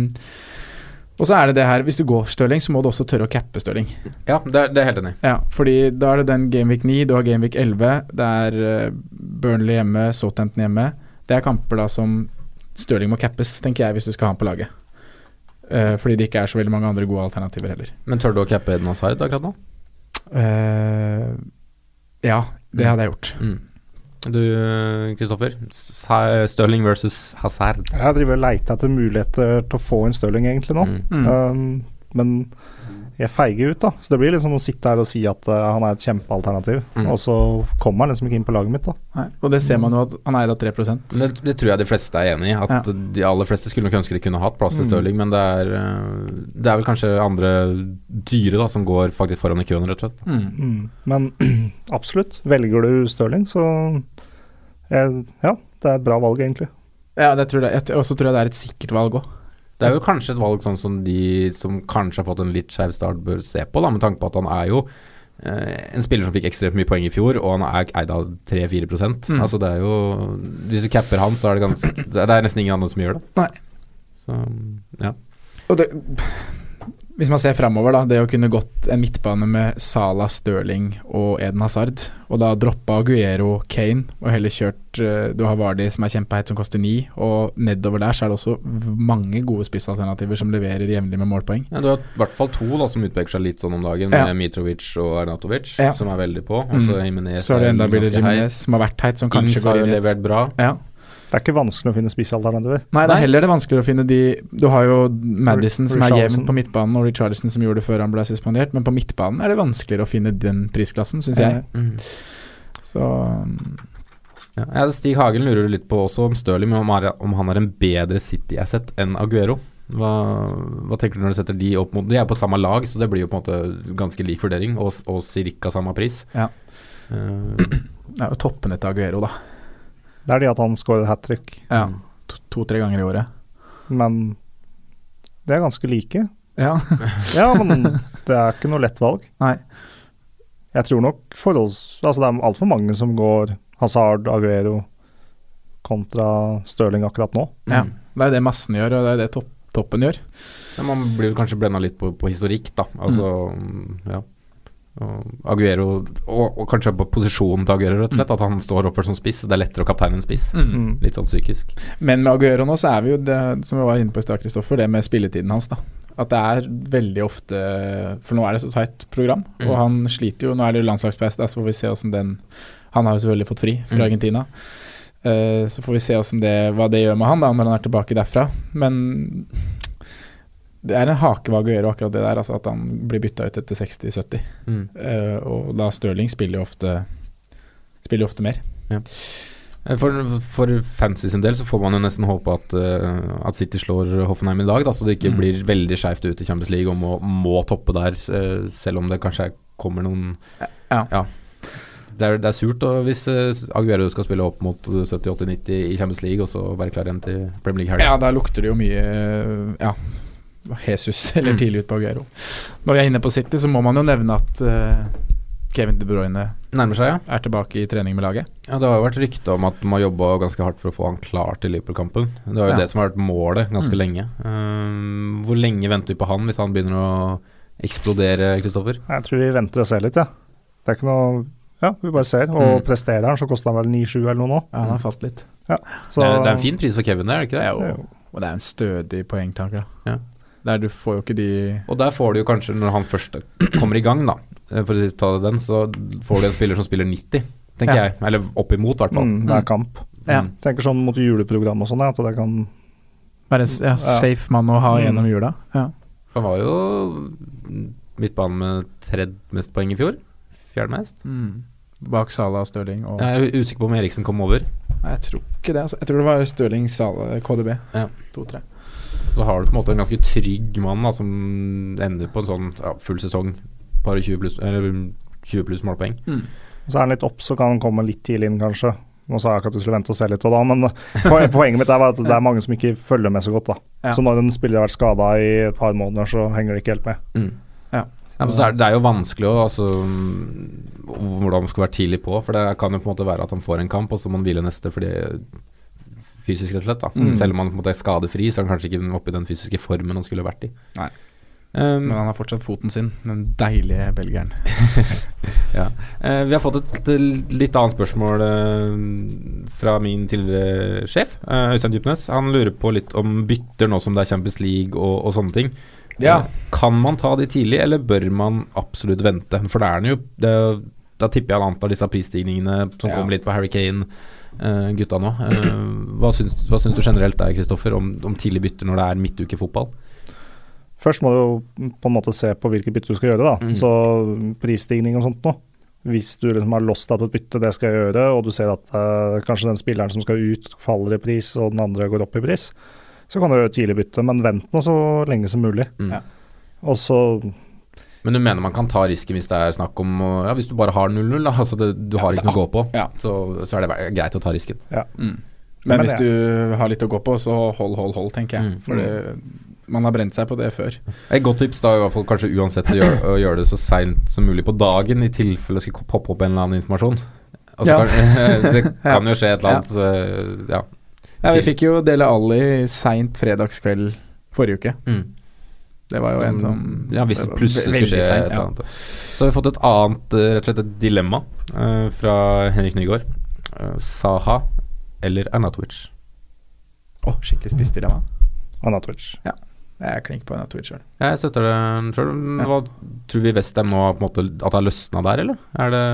E: og så er det det her, hvis du går Stirling, så må du også tørre å cappe Stirling.
B: Ja, det, er- det er jeg helt enig i.
E: Ja, fordi da er det den Gameweek 9, du har Gameweek 11, det er eh, Burnley hjemme, Southampton hjemme. Det er kamper da som Stirling må cappes, tenker jeg, hvis du skal ha han på laget. Eh, fordi det ikke er så veldig mange andre gode alternativer heller.
B: Men tør du å cappe Eden Hazard akkurat nå?
E: Eh, ja, det hadde jeg gjort.
B: Du, Kristoffer. Stirling versus Hazard.
D: Jeg driver og leter etter muligheter til å få inn Stirling egentlig nå,
B: Mm.
E: Mm.
D: um, men jeg feiger ut, da. Så det blir liksom å sitte her og si at eh, han er et kjempealternativ,
B: Mm.
D: og så kommer han liksom ikke inn på laget mitt, da.
E: Nei, og det ser man jo at han eier da 3
B: Men Det, det tror jeg de fleste er enig i. At
E: Ja.
B: de aller fleste skulle nok ønske de kunne hatt plass til
E: Mm.
B: Stirling, men det er, eh, det er vel kanskje andre dyre da, som går faktisk foran i køen, rett og slett.
E: Mm.
D: Mm. Men absolutt, velger du Stirling, så eh, Ja, det er et bra valg, egentlig.
E: Ja, det tror jeg. jeg. Og så tror jeg det er et sikkert valg òg.
B: Det er jo kanskje et valg sånn som de som kanskje har fått en litt skeiv start, bør se på, da, med tanke på at han er jo eh, en spiller som fikk ekstremt mye poeng i fjor, og han er eid av 3-4
E: Mm.
B: Altså det er jo Hvis du capper han, så er det ganske Det er nesten ingen andre som gjør det.
E: Nei.
B: Så ja.
E: Og det Hvis man ser framover, da. Det å kunne gått en midtbane med Salah, Stirling og Eden Hazard, og da droppa Aguero, Kane, og heller kjørt eh, Du har Vardy som er kjempeheit, som koster ni, og nedover der så er det også v- mange gode spissalternativer som leverer jevnlig med målpoeng.
B: Ja, du har i hvert fall to da, som utpeker seg litt sånn om dagen,
E: Ja.
B: med Mitrovic og Arnatovic,
E: Ja.
B: som er veldig på. Og
E: Mm.
B: så Jimenez
E: Så er det enda
B: ganske
E: Billy
B: hei.
E: Jiminez som har vært heit, som kanskje
B: Ings har
E: går
B: jo
E: inn i et
B: levert bra.
E: ja.
D: Det er ikke vanskelig å finne spissalternativer.
E: Nei, det
B: Nei.
E: er heller det vanskeligere å finne de Du har jo Madison som er
D: Richarlison.
E: jevn på midtbanen, og Richarlison som gjorde det før han ble suspendert, men på midtbanen er det vanskeligere å finne den prisklassen, syns jeg.
D: Eh,
E: Så um,
B: Ja. Ja, Stig Hagen lurer du litt på også om Stirling, men om, er- om han er en bedre City-asset enn Aguero. Hva, hva tenker du når du setter de opp mot De er på samme lag, så det blir jo på en måte ganske lik vurdering, og, og cirka samme pris.
E: Ja.
B: Eh,
E: det er jo toppene til Aguero, da.
D: Det er det at han scorer hat trick,
E: Ja. To-tre ganger i året.
D: men det er ganske like.
E: Ja.
D: Ja, men det er ikke noe lett valg.
E: Nei.
D: Jeg tror nok forholds... Altså, det er altfor mange som går Hazard, Aguero kontra Stirling akkurat nå.
E: ja. Mm. Det er det massen gjør, og det er det topp, toppen gjør.
B: Ja, man blir vel kanskje blenda litt på, på historikk, da. Altså, ja. Og Aguero og, og kanskje på posisjonen til Aguero, rett og slett. At han står oppført som spiss. Det er lettere å kapteine en spiss.
D: Mm.
B: Litt sånn psykisk.
E: Men med Aguero nå, så er vi jo det som vi var inne på i stad, Kristoffer, det med spilletiden hans, da. At det er veldig ofte For nå er det så tight program,
B: Mm.
E: og han sliter jo. Nå er det jo landslagspause, der, så får vi se åssen den Han har jo selvfølgelig fått fri fra
B: Mm.
E: Argentina. Eh, så får vi se hvordan det, hva det gjør med han da når han er tilbake derfra. Men det er en hake ved Aguero, akkurat det der. Altså at han blir bytta ut etter 60-70.
B: Mm.
E: Eh, og da Stirling spiller jo ofte Spiller jo ofte mer.
B: Eh, For, for fancy sin del så får man jo nesten håpe at, eh, at City slår Hoffenheim i dag, da, så det ikke
E: Mm.
B: blir veldig skeivt ut i Champions League og må, må toppe der, eh, selv om det kanskje er- kommer noen
E: Ja.
B: Det er, det er surt da, hvis eh, Aguero skal spille opp mot eh, 70-80-90 i Champions League og så være klar igjen til Premier League i helga.
E: Ja, da lukter det jo mye ja, Jesus eller
B: Mm.
E: tidlig ut på Aguero. Når vi er inne på City, så må man jo nevne at eh, Kevin De Bruyne
B: Nærmer seg, ja.
E: er tilbake i trening med laget.
B: Ja, Det har jo vært rykte om at de har jobba ganske hardt for å få han klar til Liverpool-kampen. Det er jo
E: Ja.
B: det som har vært målet ganske
E: Mm.
B: lenge. Ehm, hvor lenge venter vi på han hvis han begynner å eksplodere, Kristoffer?
D: Jeg tror vi venter og ser litt, ja. Det er ikke noe Ja, vi bare ser.
B: Mm.
D: Og presterer han, så koster han vel 9-7 eller noe nå.
E: Ja, han har falt litt.
D: Så
B: Det, er- det er en fin pris for Kevin der, er det ikke
E: Det
B: det?
E: er jo, og det er en stødig poengtanke, da.
B: Ja.
E: Der du får jo ikke de
B: Og der får du jo kanskje, når han først kommer i gang, da, eh, for å ta den, så får du en spiller som spiller 90, tenker
E: Ja.
B: jeg. Eller opp imot, i hvert fall.
D: mm, det er kamp.
E: Ja.
B: Mm.
D: Tenker sånn mot juleprogram og sånn, ja, at det kan
E: Være en s- ja, safe mann å ha
D: Mm.
E: gjennom jula. Ja.
B: Han var jo midtbanen med tredje mest poeng i fjor. Fjerde mest.
E: Mm. Bak Salah og Stirling og
B: Jeg er usikker på om Eriksen kom over.
E: Nei, jeg tror ikke det. Altså. Jeg tror det var Stirling, Salah, KDB.
B: Ja.
E: To-tre.
B: Så har du på en måte en ganske trygg mann da, som ender på en sånn ja, full sesong, bare 20 pluss, eller 20 pluss målpoeng.
D: Så er han litt opp, så kan han komme litt tidlig inn, kanskje. Nå sa jeg akkurat at du skulle vente og se litt, og da, men poen- poenget mitt er bare at det er mange som ikke følger med så godt. da.
E: Ja.
D: Så når en spiller har vært skada i et par måneder, så henger det ikke helt med.
B: Ja, men så er det, det er jo vanskelig å altså, mm, hvordan man skal være tidlig på, for det kan jo på en måte være at han får en kamp, og så må han hvile neste fordi fysisk rett og slett. da.
E: Mm.
B: Selv om han på en måte er skadefri, så er han kanskje ikke oppe i den fysiske formen han skulle vært i.
E: Nei.
B: Um,
E: Men han har fortsatt foten sin, den deilige belgieren.
B: Eh, vi har fått et eh, litt annet spørsmål eh, fra min tidligere sjef, eh, Øystein Djupnes. Han lurer på litt om bytter nå som det er Champions League og, og sånne ting.
E: Ja.
B: Eh, Kan man ta de tidlig, eller bør man absolutt vente? For det er den jo det, er jo- Da tipper jeg han antar disse prisstigningene som
E: Ja.
B: kommer litt på Harry Kane. eh, gutta nå. Eh, hva, syns, hva syns du generelt der, Kristoffer, om, om tidlig bytter når det er midtukefotball?
D: Først må du jo på en måte se på hvilket bytte du skal gjøre. da.
E: Mm.
D: Så prisstigning og sånt noe. Hvis du liksom har lost deg på et bytte, det skal jeg gjøre, og du ser at eh, kanskje den spilleren som skal ut faller i pris, og den andre går opp i pris, så kan du gjøre et tidlig bytte, men vent nå så lenge som mulig.
B: Mm. Ja.
D: Og så
B: Men du mener man kan ta risken hvis det er snakk om å- Ja, hvis du bare har 0-0, da. Altså det, du har
E: hvis
B: ikke noe å gå på.
E: Ja.
B: Så, så er det bare greit å ta risken.
E: Men
D: Men
E: hvis
D: det-
E: du har litt å gå på, så hold, hold, hold, tenker jeg. For det, man har brent seg på det før.
B: Et godt tips da, i hvert fall kanskje uansett å gjøre, å gjøre det så seint som mulig på dagen, i tilfelle det skulle poppe opp en eller annen informasjon. Altså,
E: Ja.
B: kan, det kan jo skje et eller annet. så, Ja.
E: Ja, vi fikk jo Dele Alli seint fredagskveld forrige uke.
B: Mm.
E: Det var jo en sånn
B: Ja, hvis det
E: var
B: plutselig
E: ve- veldig
B: skulle skje et
E: sent,
B: eller
E: ja.
B: annet. Så har vi fått et annet, eh, rett og slett et dilemma eh, fra Henrik Nygaard. Eh, Saha eller Anatovic?
E: Å, skikkelig spissdilemma.
D: Anatovic.
E: Jeg er klink på en av Twitch sjøl.
B: Jeg støtter den sjøl. Hva tror vi Westham nå har på en måte at det har løsna der, eller? Er det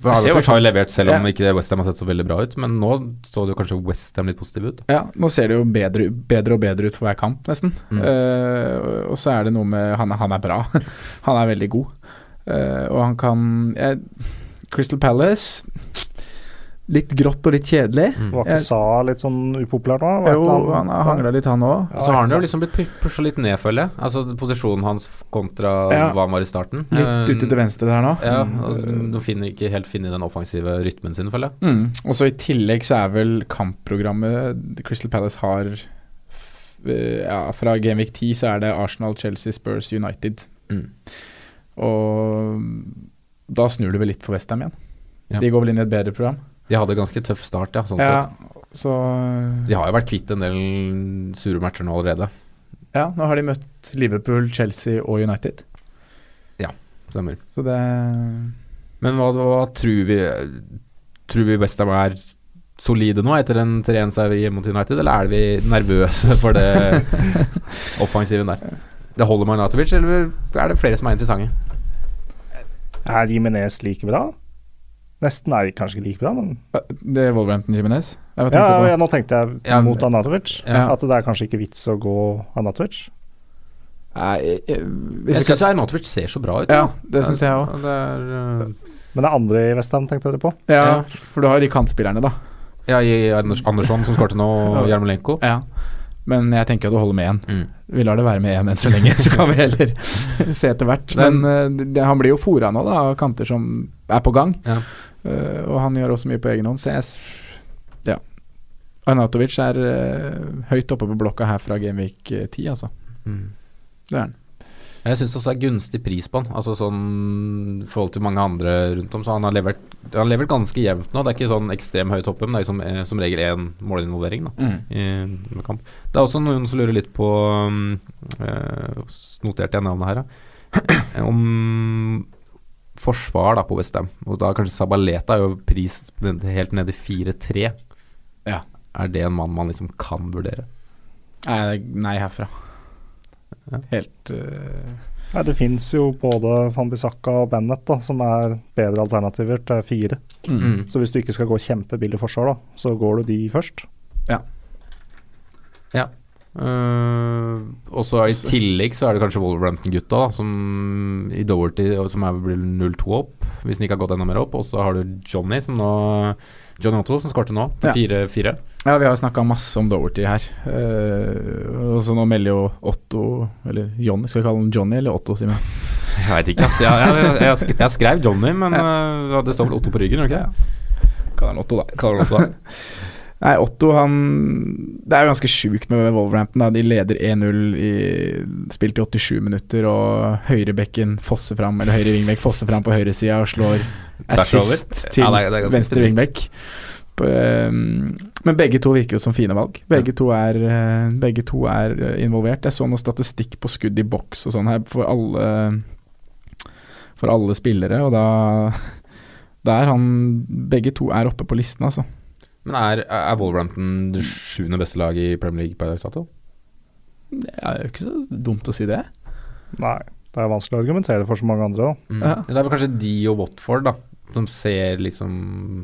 B: for
E: Jeg ser jo
B: Arnautovic har jo levert, selv
E: Ja.
B: om ikke Westham har sett så veldig bra ut. Men nå så det jo kanskje Westham litt positiv ut.
E: Ja, nå ser det jo bedre, bedre og bedre ut for hver kamp, nesten.
B: Mm.
E: Eh, og så er det noe med Han, er- han er bra. han er veldig god. Eh, og han kan jeg- Crystal Palace Litt grått og litt kjedelig.
B: Mm.
D: Var
E: Jeg-
D: ikke Sa litt sånn upopulær nå? Var et
E: Jo,
D: eller
E: han
D: annet-
E: har hangla litt, han òg.
B: Og så har han jo liksom blitt pusha litt ned, føler jeg. Altså posisjonen hans kontra
E: Ja.
B: hva han var i starten. Eh,
E: Litt ute til venstre der nå. Mm.
B: Ja, og de finner ikke helt finne den offensive rytmen sin, føler jeg.
E: Mm. Og så i tillegg så er vel kampprogrammet Crystal Palace har f- eh, Ja, fra Genvik 10 så er det Arsenal, Chelsea, Spurs, United.
B: Mm.
E: Og da snur det vel litt for Westham igjen.
B: Ja.
E: De går vel inn i et bedre program.
B: De hadde ganske tøff start, ja. Sånn
E: Ja,
B: sett.
E: så
B: De har jo vært kvitt en del sure matcher nå allerede.
E: Ja, nå har de møtt Liverpool, Chelsea og United.
B: Stemmer.
E: Så det
B: Men hva, hva tror vi Tror vi Westham er solide nå etter en 3-1-seier hjemme mot United, eller er vi nervøse for det offensiven der? Det holder med Arnatovic, eller er det flere som er interessante?
D: Er Jimenez like bra? Nesten er de kanskje ikke like bra, men
E: Det er Wolverhampton Jimenez? Jeg bare
D: ja,
E: tenkte
D: ja, nå tenkte jeg
B: Ja, men-
D: mot Anatovic.
B: Ja.
D: At det er kanskje ikke vits å gå Anatovic.
E: på Nei, jeg- jeg- hvis
B: Jeg
E: vi skal-
B: syns Arnatovic ser så bra ut.
E: Ja,
B: da.
E: det syns jeg òg.
B: Det er, øh,
D: Men det andre i Westham tenkte dere på?
E: Ja, for du har jo de kantspillerne, da.
B: Ja, i Anders, Andersson som skårte nå, og Jarmolenko.
E: Ja. Men jeg tenker at det holder med én.
B: Mm.
E: Vi lar det være med én enn så lenge, så kan vi heller se etter hvert. Men eh, det, han blir jo fora nå, da, av kanter som er på gang.
B: Ja.
E: Eh, og han gjør også mye på egen hånd, så jeg s- Ja. Arnatovic er eh, høyt oppe på blokka her fra Genvik eh, 10, altså.
B: Mm.
E: Det er han.
B: Jeg syns også det er gunstig pris på han, altså sånn i forhold til mange andre rundt om. Så han har levert, han har levert ganske jevnt nå. Det er ikke sånn ekstrem høyt oppe, men det er liksom, eh, som regel én målinvolvering. da i med kamp. Det er også noen som lurer litt på um, eh, Noterte jeg navnet her, da? om forsvar da på Westham. Og da kanskje Sabaleta er jo pris ned- helt ned i 4-3.
E: Ja.
B: Er det en mann man liksom kan vurdere?
E: Nei, Eh, nei herfra.
B: Ja.
E: Helt eh,
D: Nei, det fins jo både Van Bissaka og Bennett da, som er bedre alternativer til fire.
E: mm.
D: Så hvis du ikke skal gå kjempebillig forsvar, da, så går du de først.
B: Ja. Eh, og så er det i tillegg så er det kanskje Wolverhampton-gutta, da, som i Doherty og som er vel 0-2 opp, hvis den ikke har gått enda mer opp. Og så har du Johnny, som nå Johnny Otto, som skårte nå,
E: Ja.
B: til 4-4.
E: Ja, vi har snakka masse om Doverty her. Eh, og så nå melder jo Otto, eller Johnny, skal vi kalle han Johnny eller Otto, Simen?
B: Jeg veit ikke, ass. Jeg, jeg, jeg, sk- jeg skrev Johnny, men øh, det står vel Otto på ryggen, gjør det ikke?
E: Kall han Otto, da.
B: Kaller det Otto, da.
E: Nei, Otto han Det er jo ganske sjukt med Wolverhampton. Da. De leder 1-0, i- spilt i 87 minutter, og høyrebekken fosser fram, eller høyre vingbekk fosser fram på høyresida og slår
B: over.
E: assist til
B: Ja, det er- det er ganske
E: venstre
B: sprøtt.
E: vingbekk. På, ehm, Men begge to virker jo som fine valg. Begge to er, eh, begge to er eh, involvert. Jeg så noe statistikk på skudd i boks og sånn her for alle For alle spillere, og da Der han Begge to er oppe på listen, altså.
B: Men er, er Wolverhampton det sjuende beste laget i Premier League per dags dato?
E: Det er jo ikke så dumt å si det.
D: Nei, det er vanskelig å argumentere for så mange andre. da.
B: Mm.
E: Ja.
B: Det er vel kanskje de og Watford, da, som ser liksom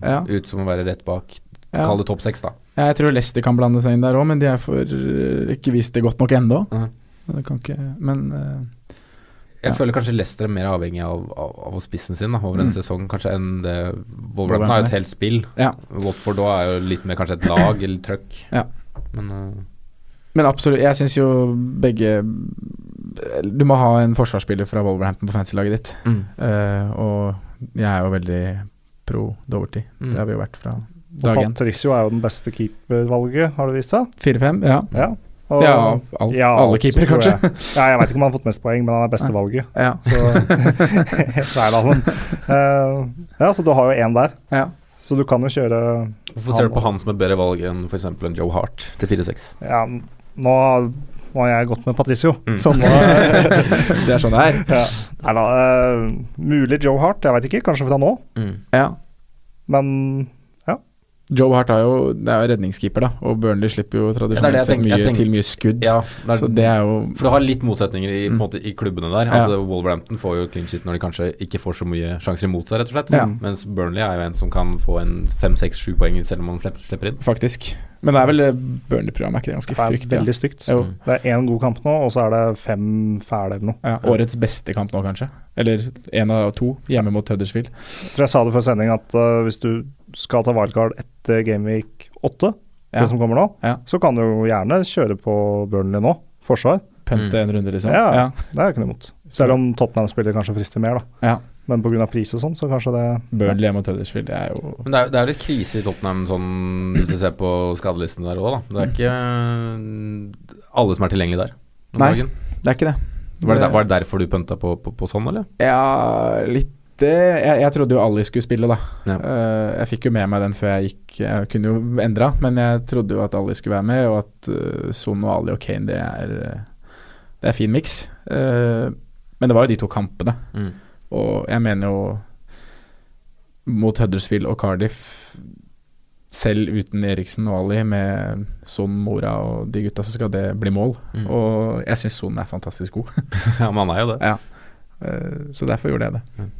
E: Ja.
B: ut som å være rett bak.
E: Ja.
B: Kall det topp seks, da.
E: Jeg tror Leicester kan blande seg inn der òg, men de er for øh, ikke vist eh, det godt nok ennå.
B: Mhm.
E: Men det kan ikke Men eh,
B: Jeg
E: Ja.
B: føler kanskje Leicester er mer avhengig av, av, av spissen sin da, over en
E: Mm.
B: sesong kanskje enn det
E: Wolverhampton
B: Wolverhampton har jo et helt spill.
E: Ja.
B: Watford da er jo litt mer kanskje et lag eller trøkk.
E: Ja.
B: Men eh,
E: Men absolutt, jeg syns jo begge Du må ha en forsvarsspiller fra Wolverhampton på fantasy-laget ditt. Eh, og jeg er jo veldig pro Doverty.
B: Mm.
E: Det har vi jo vært fra dag én.
D: Patricio er jo den beste keepervalget, har det vist seg.
E: 4-5, ja.
D: Ja, og,
E: ja, alt,
D: ja,
E: alle
D: alt,
E: keepere,
D: tror jeg.
E: kanskje.
D: ja, jeg veit ikke om han har fått mest poeng, men han er beste valget.
E: Ja.
D: Så, Nei da, men eh, Ja, så du har jo én der.
E: Ja.
D: Så du kan jo kjøre
B: hvorfor ser
D: Han-
B: du på han som et bedre valg enn f.eks. en Joe Hart til 4-6?
D: Ja, nå, nå har jeg gått med Patricio,
B: Mm.
D: så
E: Sånn
D: nå
E: Det er sånn det er.
D: ja. Nei da. eh, mulig Joe Hart, jeg veit ikke. Kanskje fra nå,
E: Ja.
D: men
E: Joe Hart er jo, det er jo redningskeeper, da, og Burnley slipper jo
B: Ja, det
E: tradisjonelt
B: er det jeg
E: sett
B: tenker-
E: mye
B: jeg tenker-
E: til mye skudd.
B: Ja, det er,
E: Så det er jo
B: for du har litt motsetninger i, på en
E: Mm.
B: måte, i klubbene der.
E: Ja.
B: Altså Wolverhampton får jo clean shit når de kanskje ikke får så mye sjanser imot seg, rett og slett.
E: Ja.
B: Mens Burnley er jo en som kan få en fem, seks, sju poeng selv om han slipper, slipper inn.
E: Faktisk. Men det er vel det Burnley-programmet, er ikke det ganske
D: det er
E: fryktelig?
D: veldig stygt.
E: da? Jo.
D: Det er én god kamp nå, og så er det fem fæle eller noe.
E: Ja, årets beste kamp nå, kanskje. Eller én av to, hjemme mot Huddersfield.
D: Jeg tror jeg sa det før sending at eh, hvis du skal ta wildcard etter Gameweek 8,
E: Ja.
D: det som kommer nå,
E: Ja.
D: så kan du jo gjerne kjøre på Burnley nå, forsvar.
B: Mm.
E: Pønte en runde, liksom.
D: Ja. Det er jo ikke noe imot. Selv om Tottenham-spillere kanskje frister mer, da.
E: Ja.
D: Men pga. pris og sånn, så kanskje det
E: Burnley hjemme mot Huddersfield, det er jo
B: Men det er, det er litt krise i Tottenham sånn, hvis du ser på skadelisten der òg, da. Det er ikke alle som er tilgjengelig der. om
E: Nei.
B: dagen.
E: Det er ikke det.
B: Var det, der, var det derfor du pønta på, på, på sånn, eller?
E: Ja, litt det. Jeg, jeg trodde jo Ali skulle spille, da.
B: Ja.
E: Eh, jeg fikk jo med meg den før jeg gikk. Jeg kunne jo endra, men jeg trodde jo at Ali skulle være med, og at eh, Son og Ali og Kane, det er eh, Det er fin miks. Eh, men det var jo de to kampene,
B: Mm.
E: og jeg mener jo Mot Huddersfield og Cardiff, selv uten Eriksen og Ali, med Son, Mora og de gutta, så skal det bli mål.
B: Mm.
E: Og jeg syns Son er fantastisk god.
B: ja, men han er jo det.
E: Eh, Så derfor gjorde jeg det.
B: Ja.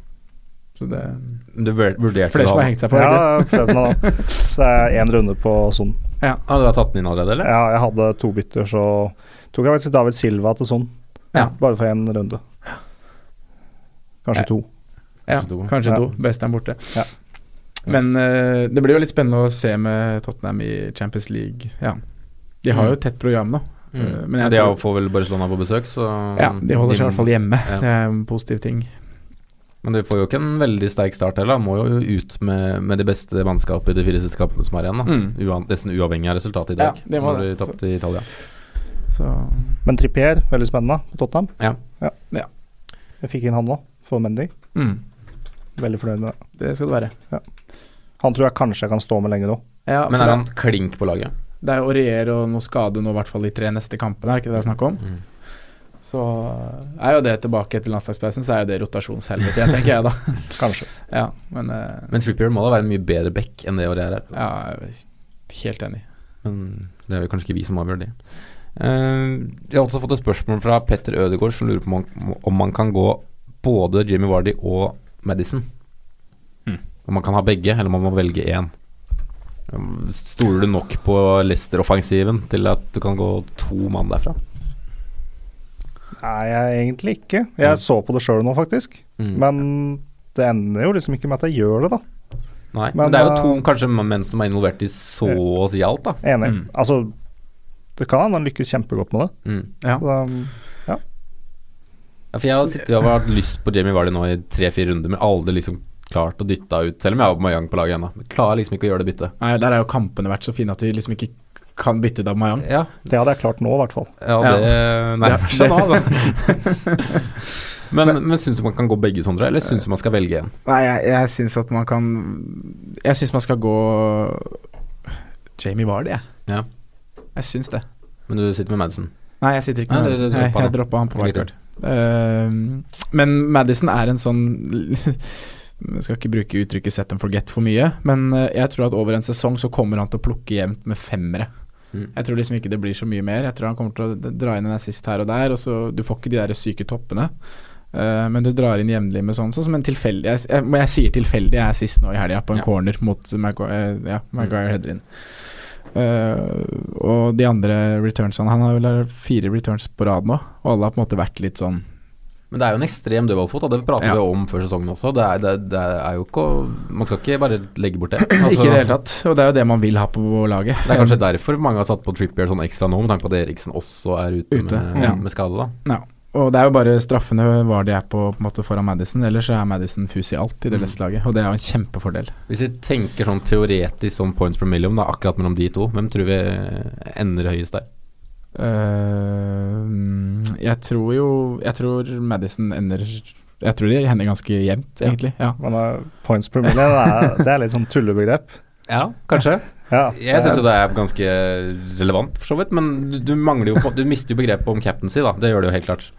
E: Så det
B: Du vur- vurderte
E: Flere som
B: det
E: har
B: al-
E: hengt seg på,
D: Ja,
E: egentlig.
D: jeg prøvde meg da. Så det er én runde på Son.
B: Ah, du har tatt den inn allerede, eller?
D: Ja, jeg hadde to bytter, så tok jeg faktisk David Silva til Son.
E: Ja.
D: Bare for én runde. Kanskje to.
E: Ja,
B: Kanskje to.
E: kanskje
D: Ja.
E: to. Best er borte.
D: Ja.
E: Men eh, det blir jo litt spennende å se med Tottenham i Champions League. Ja. De har jo et tett program nå. Eh,
B: Mm.
E: men
B: Men
E: jeg
B: de
E: tror-
B: får vel Barcelona på besøk, så
E: Ja, De holder seg i hvert fall hjemme.
B: Mm. Ja.
E: Det er en positiv ting.
B: Men de får jo ikke en veldig sterk start heller. Må jo ut med, med de beste mannskapene i de fire siste kampene som er igjen. Da.
E: Mm.
B: Uan, nesten uavhengig av resultatet i
E: Ja,
B: dag.
E: de må
B: når
E: det,
B: de tapte i Italia.
E: Så
D: Men Trippier, veldig spennende på Tottenham.
B: Ja.
E: Ja.
D: Jeg fikk inn han nå, for Mendy.
E: mm,
D: Veldig fornøyd med det.
E: det skal det være.
D: Han tror jeg kanskje jeg kan stå med lenge nå.
E: Ja,
B: Men
E: for
B: er
E: det-
B: han klink på laget?
E: Det er jo Aurier og noe skade nå, i hvert fall de tre neste kampene, er det ikke det det er snakk om?
B: Mm.
E: Så er jo det tilbake etter landslagspausen, så er jo det rotasjonshelvete, jeg, tenker jeg da.
D: Kanskje.
E: Ja, men, eh,
B: Men Trippier må da være en mye bedre back enn det Aurier er.
E: ja, jeg er helt enig.
B: Men det er jo kanskje ikke vi som avgjør det. Eh, jeg har også fått et spørsmål fra Petter Ødegaard som lurer på om man, om man kan gå både Jimmy Vardy og Madison. Om man kan ha begge, eller om man må velge én. Um, Stoler du nok på Leicester-offensiven til at du kan gå to mann derfra?
D: Nei, jeg egentlig ikke. Jeg så på det sjøl nå, faktisk.
B: Mm.
D: Men det ender jo liksom ikke med at jeg gjør det, da.
B: Nei, men,
D: men,
B: det er jo
D: eh,
B: to kanskje menn som er involvert i så å si alt, da.
D: Enig.
E: Mm.
D: Altså, det kan hende han lykkes kjempegodt med det.
B: Mm.
E: Ja.
D: Så, um,
B: Ja, for jeg har sittet og hatt lyst på Jamie Vardy nå i tre-fire runder, men aldri liksom klart å dytte henne ut, selv om jeg har Mayang på laget ennå. Men Klarer liksom ikke å gjøre det byttet.
E: Nei, der har jo kampene vært så fine at vi liksom ikke kan bytte ut av Mayang.
B: Ja,
D: det hadde jeg klart nå, i hvert fall.
B: ja
E: Ja.
B: det nærmer seg nå,
E: det-
B: altså. Men, men syns du man kan gå begge, Sondre, eller syns du man skal velge en?
E: Nei, jeg, jeg syns at man kan Jeg syns man skal gå Jamie Vardy, jeg.
B: Ja.
E: Jeg syns det.
B: Men du sitter med Madison.
E: Nei, jeg sitter ikke
B: Nei,
E: med
B: det- det-
E: Madison.
B: det-
E: Nei,
B: droppa
E: jeg
B: han.
E: droppa han på
B: Det er
E: wildcard. Eh, men Madison er en sånn Jeg skal ikke bruke uttrykket 'set and forget' for mye, men eh, jeg tror at over en sesong så kommer han til å plukke jevnt med femmere.
B: Mm.
E: Jeg tror liksom ikke det blir så mye mer. Jeg tror han kommer til å d- dra inn en assist her og der, og så du får ikke de der syke toppene. Eh, men du drar inn jevnlig med sånn, sånn som en tilfeldig jeg, jeg, men jeg sier tilfeldig, jeg er sist nå i helga på en
B: Ja. Mm.
E: corner mot Maguire, eh, ja, Maguire header inn. Eh, og de andre returnsene Han har vel fire returns på rad nå, og alle har på en måte vært litt sånn
B: Men det er jo en ekstrem dødballfot, og det prater
E: Ja.
B: vi om før sesongen også. Det er, det, det er jo ikke å- Man skal ikke bare legge bort det. Altså,
E: Ikke i det hele tatt. Og det er jo det man vil ha på laget.
B: det er kanskje derfor mange har satt på Trippier sånn ekstra nå, med tanke på at Eriksen også er ute,
E: Ute,
B: med,
E: ja.
B: med skade. da
E: Ja. Eh, Og det er jo bare straffene var de er på, på en måte foran Madison. Ellers så er Madison fus i alt i
B: Mm.
E: det Leicester-laget, og det er jo en kjempefordel.
B: Hvis vi tenker sånn teoretisk sånn points per million, da, akkurat mellom de to, hvem tror vi ender høyest der?
E: Eh, jeg tror jo Jeg tror Madison ender Jeg tror de hender ganske jevnt,
B: Ja.
E: egentlig. Ja.
D: Men eh, points per million, det er, det er litt sånn tullebegrep.
B: Ja, kanskje.
D: Ja,
B: Jeg syns jo
D: Eh,
B: det er ganske relevant, for så vidt. Men du, du mangler jo på, Du mister jo begrepet om captaincy, da. Det gjør det jo helt klart.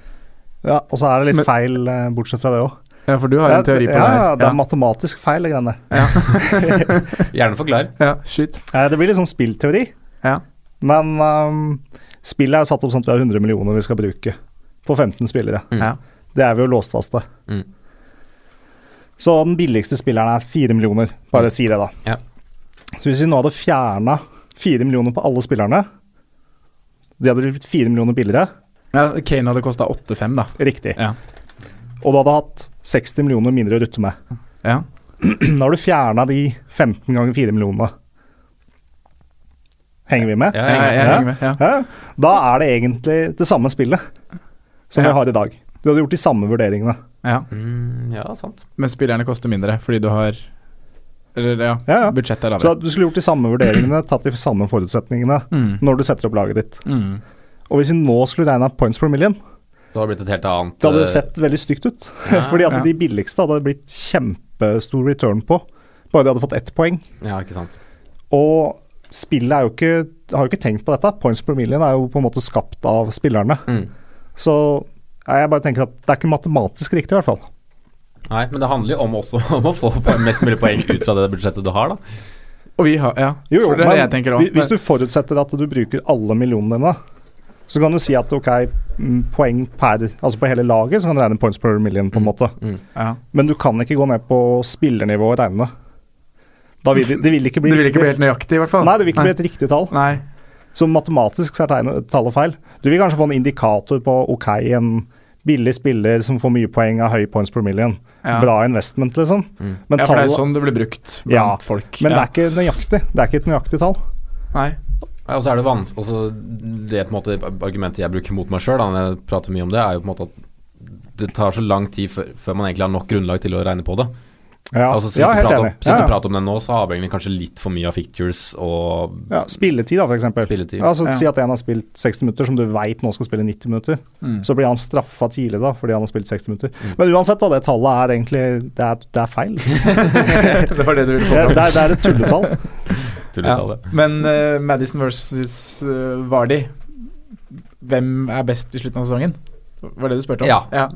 D: ja, og så er det litt feil, eh, bortsett fra det òg.
E: ja, for du har
D: Ja,
E: en teori på
D: ja,
E: det her.
D: ja, det er matematisk feil, de greiene.
B: Gjerne forklar.
E: ja, skyt.
D: Eh, Det blir litt sånn spillteori.
E: Ja.
D: Men ehm, spillet er jo satt opp sånn at vi har 100 millioner vi skal bruke på 15 spillere.
B: Mm.
E: Ja.
D: Det er vi jo låst fast til.
B: Mm.
D: Så den billigste spilleren er 4 millioner, bare si det, da.
B: Mm. Ja.
D: Så hvis vi nå hadde fjerna 4 millioner på alle spillerne, de hadde blitt 4 millioner billigere,
E: Ja, Kane hadde kosta 8-5, da.
D: riktig,
E: Ja.
D: og du hadde hatt 60 millioner mindre å rutte med.
E: Ja.
D: Da har du fjerna de 15 ganger 4 millionene. Henger vi med?
B: Ja,
E: Jeg, jeg
D: Ja.
E: henger med. Ja.
D: Ja, da er det egentlig det samme spillet som
E: Ja.
D: vi har i dag. Du hadde gjort de samme vurderingene.
E: Ja.
B: Mm, ja, sant.
E: Men spillerne koster mindre fordi du har Eller ja,
D: Ja, ja.
E: budsjettet er
D: Så
E: lavere.
D: at du skulle gjort de samme vurderingene, tatt de samme forutsetningene
E: Mm.
D: når du setter opp laget ditt.
E: Mm.
D: Og hvis vi nå skulle regna points per million,
B: Så har det blitt et helt annet
D: det hadde
B: eh,
D: det sett veldig stygt ut. Fordi at
E: ja.
D: de billigste hadde det blitt kjempestor return på, bare de hadde fått ett poeng.
B: Ja, ikke sant.
D: Og spillet er jo ikke har jo ikke tenkt på dette. Points per million er jo på en måte skapt av spillerne.
B: Mm.
D: Så ja, jeg bare tenker at det er ikke matematisk riktig, i hvert fall.
B: Nei, men det handler jo om også om å få po- mest mulig poeng ut fra det budsjettet du har, da.
E: Og vi har Ja,
D: Jo, jo,
E: for det er det jeg tenker
D: men
E: òg.
D: hvi- hvis du forutsetter at du bruker alle millionene dine, så kan du si at ok, mm, poeng per Altså på hele laget så kan du regne points per million, på en måte.
E: Mm. ja.
D: Men du kan ikke gå ned på spillernivå og regne det. Da vil det, det vil ikke bli
E: Det vil ikke bli
D: riktig-
E: helt nøyaktig, i hvert fall.
D: Nei, det vil ikke bli et riktig tall.
E: Nei.
D: Så matematisk så er tegne- tallet feil. Du vil kanskje få en indikator på ok, en billig spiller som får mye poeng av høy points per million.
E: Ja.
D: Bra investment, liksom. Men,
E: Ja, for det er
D: tallet-
E: sånn det blir brukt blant
D: Ja,
E: folk.
D: men det
E: ja.
D: er ikke nøyaktig. Det er ikke et nøyaktig tall.
E: Nei.
B: Ja, Og så er det vans altså, Det på en måte argumentet jeg bruker mot meg sjøl, når jeg prater mye om det, er jo på en måte at det tar så lang tid før, før man egentlig har nok grunnlag til å regne på det.
D: Ja,
B: altså, sitter
D: ja helt
B: prat om,
D: enig.
B: Sitter
D: Ja, ja.
B: og prater om det nå, så har vi egentlig kanskje litt for mye av fictures og
D: Ja, spilletid, da, for eksempel.
B: Spilletid.
D: Altså,
E: Ja.
D: Si at en har spilt 60 minutter, som du veit nå skal spille 90 minutter.
E: Mm.
D: Så blir han straffa tidlig da, fordi han har spilt 60 minutter. Men uansett, da, det tallet er egentlig Det er, det er feil. Det,
E: det var det du ville få
D: er-
E: fram.
D: det, er, det er et tulletall.
B: tulletallet.
E: Men eh, Madison versus eh, Vardy Hvem er best i slutten av sesongen? Var det du spurte om?
B: Ja.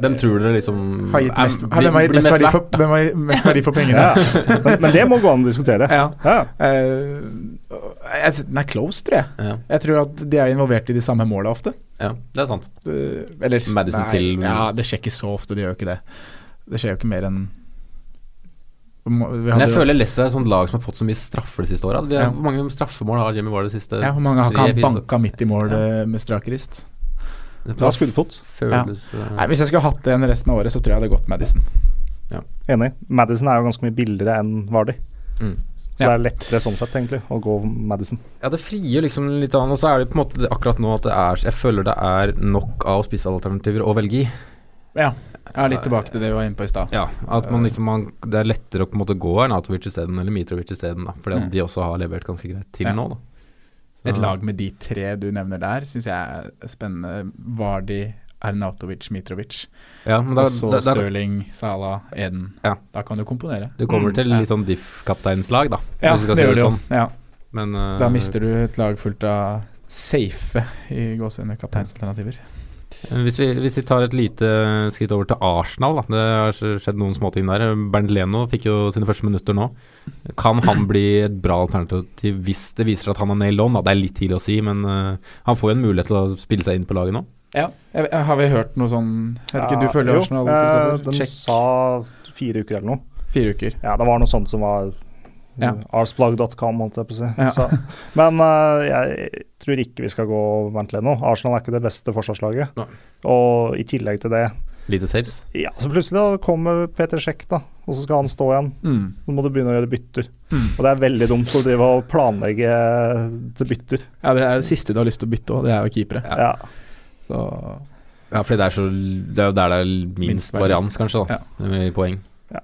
B: Hvem tror dere liksom
E: Har gitt
B: er-
E: mest,
B: blir-
E: har, hvem har gitt
B: blir
E: mest verdi
B: verdt,
E: for,
B: da?
E: hvem har gitt mest verdi for pengene?
D: Ja. Men, men det må gå an å diskutere.
E: Ja.
D: Ja.
E: Eh, jeg, den er close, tror jeg.
B: Ja,
E: Jeg tror at de er involvert i de samme måla ofte.
B: ja, det er sant.
E: Det- Eller
B: Madison til-
E: Ja, det skjer ikke så ofte, de gjør jo ikke det. Det skjer jo ikke mer enn
B: Men jeg føler Leicester er et sånt lag som har fått så mye straffer det siste året. Vi er-
E: Ja.
B: Hvor mange straffemål har Jamie Ward det siste
E: ja, Hvor mange har ikke
B: tre,
E: han
B: fire, så-
E: banka midt i mål eh, med strak rist?
B: Det
D: Da skuddfot.
B: føles eh,
E: Nei, Hvis jeg skulle hatt en resten av året, så tror jeg det hadde gått Madison.
D: Enig. Madison er jo ganske mye billigere enn Vardy.
B: Mm.
D: Så det er lettere sånn sett, egentlig, å gå Madison.
B: Ja, det frigjør liksom litt annet. Og så er det på en måte det- akkurat nå at det er Jeg føler det er nok av spissalternativer å velge i.
E: Ja, jeg er litt tilbake til det vi var inne på i stad.
B: Ja, at man liksom man, Det er lettere å på en måte gå Arnatovic isteden, eller Mitrovic isteden, da. Fordi at de også har levert ganske greit til
E: Mm. Ja.
B: nå, da.
E: Et lag med de tre du nevner der, syns jeg er spennende. Vardi, Ernatovic, Mitrovic.
B: Ja, men da,
E: Og så
B: da, da
E: Stirling, Salah, Eden.
B: Ja.
E: Da kan du komponere.
B: Du kommer til
E: Mm, ja.
B: litt sånn diff-kapteinslag, da.
E: Ja,
B: hvis vi skal
E: det
B: si
E: gjør du jo.
B: sånn.
E: Ja.
B: Men eh,
E: Da mister du et lag fullt av safe i gåsehudene kapteinsalternativer.
B: Eh, Hvis vi, hvis vi tar et lite skritt over til Arsenal, da. det har skjedd noen småting der. Bernt Leno fikk jo sine første minutter nå. Kan han bli et bra alternativ hvis det viser seg at han er nail on? Da? Det er litt tidlig å si, men eh, han får jo en mulighet til å spille seg inn på laget nå.
E: Ja. Jeg, jeg, har vi hørt noe sånn Jeg vet ikke,
D: Ja,
E: du følger
D: jo,
E: Arsenal?
D: eh,
E: Kristoffer?
D: De
E: Sjekk
D: sa fire uker eller noe.
E: fire uker.
D: Ja, det var noe sånt som var
B: Ja.
D: Arsblog.com, holdt jeg på å si.
E: Ja.
D: Så, men eh, jeg tror ikke vi skal gå ordentlig nå. Arsenal er ikke det beste forsvarslaget.
B: Nei.
D: Og i tillegg til det
B: Lite saves.
D: Ja, så plutselig da kommer Peter Sjekk, da. Og så skal han stå igjen.
E: Mm.
D: Nå må du begynne å gjøre bytter.
B: Mm.
D: Og det er veldig dumt å drive og planlegge eh, til bytter.
E: Ja, det er det siste du har lyst til å bytte òg, det er jo keepere.
D: Ja.
E: Så
B: Ja, fordi det er, så, det er jo der det er minst
E: Minst verdi.
B: varians, kanskje, da, i poeng.
D: Ja.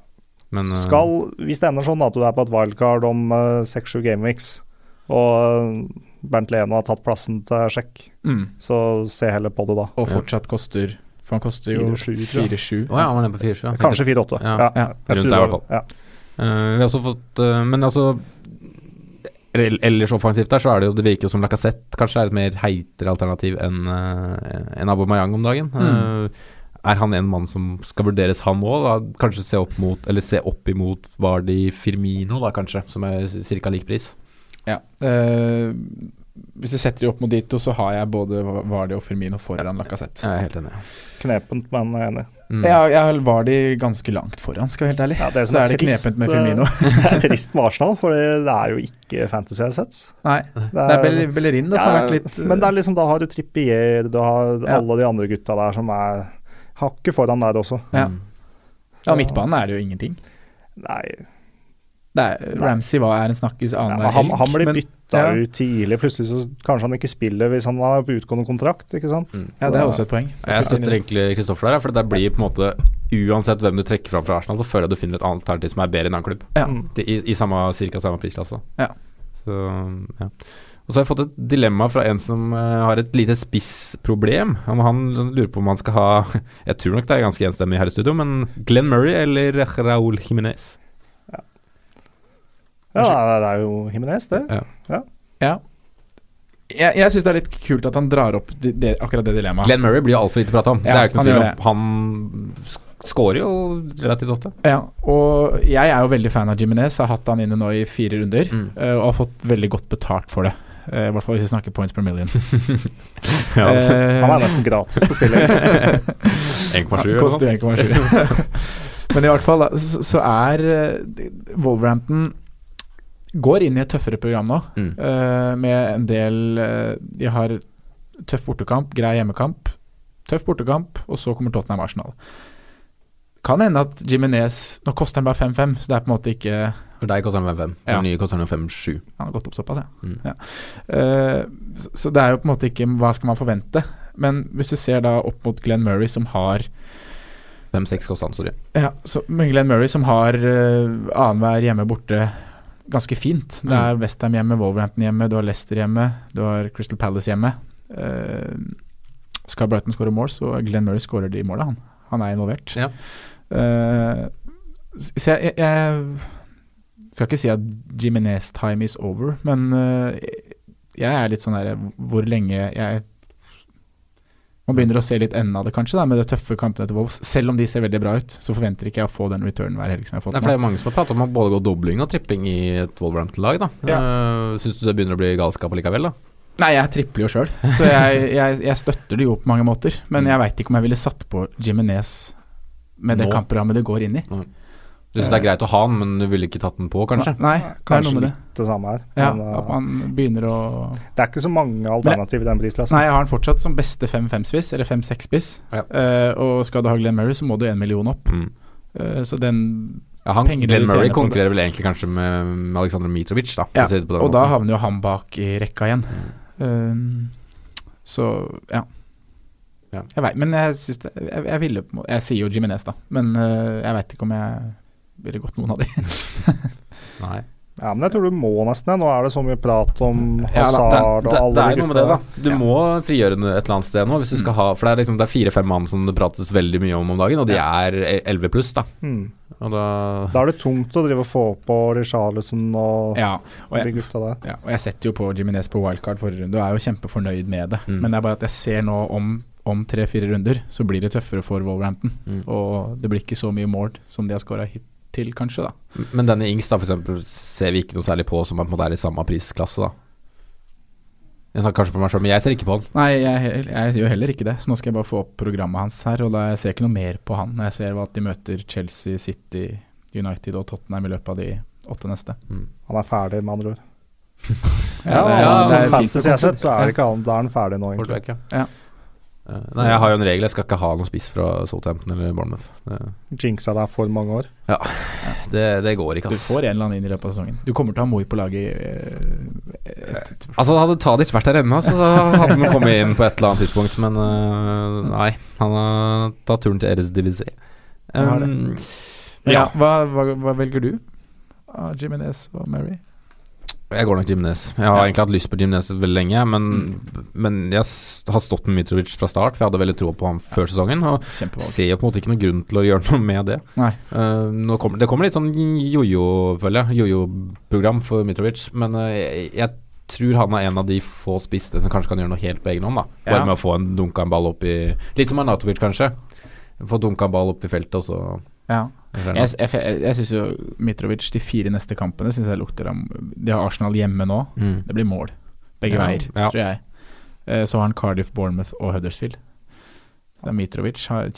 B: Men eh,
D: Skal, hvis det ender sånn at du er på et wildcard om eh, seks-sju gameweeks, og eh, Bernt Leno har tatt plassen til Sjekk,
E: mm.
D: så se heller på det da.
E: Og fortsatt koster For han koster jo
D: 4-7, tror jeg.
E: 4-7.
B: Å ja, han var nede på 4-7. ja.
D: Kanskje 4-8.
B: Ja,
E: ja.
D: jeg
B: Rundt der
D: tror
B: i
D: det-
B: hvert fall.
D: Ja.
B: Eh, vi har også fått eh, Men altså ell- Ellers offensivt der, så er det jo Det virker jo som Lacassette kanskje er et mer heitere alternativ enn eh, enn Aubameyang om dagen.
E: Mm.
B: Eh, er han en mann som skal vurderes, han òg? Kanskje se opp mot Eller se opp imot Vardi Firmino, da kanskje, som er ca. lik pris?
E: Ja. Eh, hvis du setter de opp mot de to, så har jeg både Vardi og Firmino foran Lacassette.
B: Jeg er helt enig.
D: Knepent, men jeg er enig.
B: Mm.
E: Ja, jeg var de ganske langt foran, skal jeg være helt ærlig.
D: Ja, det som
E: så
D: er
E: er det
D: trist,
E: knepent med
D: eh,
E: Firmino.
D: Det er trist med Arsenal, for det er jo ikke fantasy assets.
E: Nei, det er Bell- Bellerin det som har vært litt
D: liksom- Men det er liksom, da har du Trippier, du har
E: Ja.
D: alle de andre gutta der som er hakket foran der også.
E: ja. Mm. ja, midtbanen er det jo ingenting.
D: Nei,
E: Det er, Ramsey var, er en snakkis
D: nei
E: annenhver
D: han, han blir
E: men-
D: bytta
E: ja.
D: ut tidlig. Plutselig så kanskje han ikke spiller hvis han er på utgående kontrakt, ikke sant.
B: Mm.
E: Ja, det er også et poeng.
B: Jeg støtter egentlig Kristoffer der, for det blir på en måte Uansett hvem du trekker fram fra Arsenal, så føler jeg du finner et annet alternativ som er bedre i en annen klubb.
E: Ja.
D: Mm.
B: Det- I, i samme, cirka samme prisklasse.
E: Ja.
B: Så, ja. Og så har jeg fått et dilemma fra en som eh, har et lite spissproblem. Han, han lurer på om han skal ha Jeg tror nok det er ganske enstemmig her i studio, men Glenn Murray eller Raúl Jiménez?
D: Ja, det er jo Himinez, det.
E: Jeg, jeg syns det er litt kult at han drar opp det, det, akkurat det dilemmaet.
B: Glenn Murray blir jo altfor lite prata om.
E: Ja,
B: det er jo ikke
E: han
B: noe
E: gjør
B: tvil om. Han sk- scorer jo relativt ofte.
E: Ja, og jeg er jo veldig fan av Jimenez. Har hatt han inne nå i fire runder
B: Mm.
E: eh, og har fått veldig godt betalt for det. Eh, I hvert fall hvis vi snakker points per million. Eh,
D: Han er nesten gratis å spille.
E: det
B: 1,7 eller noe.
E: koster 1,7. Men i hvert fall da, så, så er eh, Wolverhampton går inn i et tøffere program nå,
B: Mm.
E: eh, med en del eh, De har tøff bortekamp, grei hjemmekamp, tøff bortekamp, og så kommer Tottenham Arsenal. Kan hende at Jimenez Nå koster han bare 5-5, så det er på en måte ikke
B: For deg koster den 5. For
E: Ja.
B: den nye koster den 5,7.
E: Han har gått opp såpass, ja.
B: Mm.
E: ja. Eh, så, så det er jo på en måte ikke Hva skal man forvente? Men hvis du ser da opp mot Glenn Murray, som har
B: 5-6 koster den, sorry.
E: ja, så, men Glenn Murray, som har uh, annenhver hjemme borte ganske fint. Det er Westham hjemme, Wolverhampton hjemme, du har Leicester hjemme, du har Crystal Palace hjemme. Eh, skal Brighton skåre mål, så Glenn Murray skårer de måla, han. Han er involvert.
B: Ja.
E: Eh, så jeg, jeg, jeg skal ikke si at Jimenez time is over, men eh, jeg er litt sånn der Hvor lenge jeg Man begynner å se litt enden av det, kanskje, da, med de tøffe kampene til Wolves. Selv om de ser veldig bra ut, så forventer ikke jeg å få den returnen hver helg som jeg har fått
B: Nei, for det
E: nå.
B: er mange som har pratet om å både gå dobling og tripping i et Wolverhampton-lag, da. Ja. Syns du det begynner å bli galskap allikevel, da?
E: Nei, jeg tripler jo sjøl, så jeg, jeg, jeg støtter det jo på mange måter. Men jeg veit ikke om jeg ville satt på Jimenez med det
B: Nå?
E: kampprogrammet det går inn i.
B: Du syns det er greit å ha den, men du ville ikke tatt den på, kanskje?
E: Eh. Nei, det er
D: Kanskje
E: noe med det.
D: litt det samme her.
E: Ja,
D: men, eh,
E: at man begynner å
D: det er ikke så mange alternativ i den prisklassen.
E: Nei, jeg har den fortsatt som beste 5-5-spiss, eller 5-6-spiss.
B: Altså, Ja.
E: og skal du ha Glenn Murray, så må du en million opp.
B: Mm.
E: Eh, så den
B: Ja, han,
E: Pengene
B: Glenn
E: du
B: Murray
E: tjener på
B: konkurrerer vel egentlig kanskje med, med Aleksandr Mitrovic, da. for
E: Ja,
B: å si det på den
E: Og da
B: måten.
E: havner jo han bak i rekka igjen. Um, så ja.
B: Ja.
E: Jeg vet, men jeg syns det jeg, jeg ville på en måte Jeg sier jo Jimenez, da, men øh, jeg veit ikke om jeg ville gått noen av de.
B: Nei.
D: Ja, men jeg tror du må nesten det. Nå er det så mye prat om
B: Mm. Ja, da, det,
D: Hazard
B: det,
D: og
B: det
D: alle
B: er
D: de
B: noe med det,
D: gutta.
B: da. Du
E: Ja. Mm.
B: må frigjøre noe- et eller annet sted nå, hvis du skal ha For det er liksom det er fire-fem mann som det prates veldig mye om om dagen, og de er 11 pluss, da.
D: Mm.
B: Og da
D: Da er det tungt å drive og få på Richarlison og
E: Ja, og
D: de
E: jeg,
D: gutta der.
E: ja, og jeg setter jo på Jimenez på wildcard forrige runde og er jo kjempefornøyd med det.
B: Mm.
E: Men det er bare at jeg ser nå om om tre-fire runder så blir det tøffere for Wolverhampton.
B: Mm.
E: Og det blir ikke så mye mål som de har skåra hittil, kanskje. da
B: Men denne Ings, da, for eksempel, ser vi ikke noe særlig på som er, på en måte er i samme prisklasse, da. Jeg snakker kanskje for meg sjøl, men jeg ser ikke på han.
E: Nei, jeg, jeg gjør heller ikke det. Så nå skal jeg bare få opp programmet hans her. Og da jeg ser ikke noe mer på han. Jeg ser at de møter Chelsea, City, United og Tottenham i løpet av de åtte neste.
D: Han er ferdig, med andre ord.
E: Ja,
B: det- ja,
D: sånn
B: det er fint å
D: fantasy jeg har sett, så er det ikke annet. Da er han ferdig nå, egentlig.
B: Quarterback,
E: Ja.
B: Eh, Nei, jeg har jo en regel. Jeg skal ikke ha noen spiss fra Southampton eller Bournemouth. Det,
D: Jinxa deg for mange år.
B: det, det går ikke,
E: Du
B: ass.
E: får en eller annen inn i løpet av sesongen. Du kommer til å ha Moi på laget eh, et,
B: Altså, hadde Tadic vært der ennå, så hadde han kommet inn på et eller annet tidspunkt, men eh, nei. Han har tatt turen til Eres Ehm, Divisé.
E: Han har det.
B: ja.
E: Eh, ja. hva, hva, hva velger du? Ah, Jimenez og Mary?
B: Jeg går nok Jimnes. Jeg har egentlig hatt lyst på Jimnes veldig lenge, men,
E: Mm.
B: men jeg s- har stått med Mitrovic fra start, for jeg hadde veldig tro på ham før sesongen. Og
E: Kjempevalg.
B: ser jo på en måte ikke noen grunn til å gjøre noe med det.
E: Nei.
B: Eh, nå kommer, det kommer litt sånn jojo, føler jeg. Jojo-program for Mitrovic. Men eh, jeg, jeg tror han er en av de få spiste som kanskje kan gjøre noe helt på egen hånd. da Bare
E: Ja.
B: med å få en dunka en ball opp i Litt som Arnatovic, kanskje. Få dunka en ball opp i feltet, og så
E: Ja.
B: jeg,
E: Jeg, jeg, jeg, jeg syns jo Mitrovic de fire neste kampene synes jeg lukter av De har Arsenal hjemme nå.
B: mm.
E: Det blir mål begge
B: Ja,
E: veier,
B: ja.
E: tror jeg. Eh, Så har han Cardiff, Bournemouth og Huddersfield. Så Mitrovic har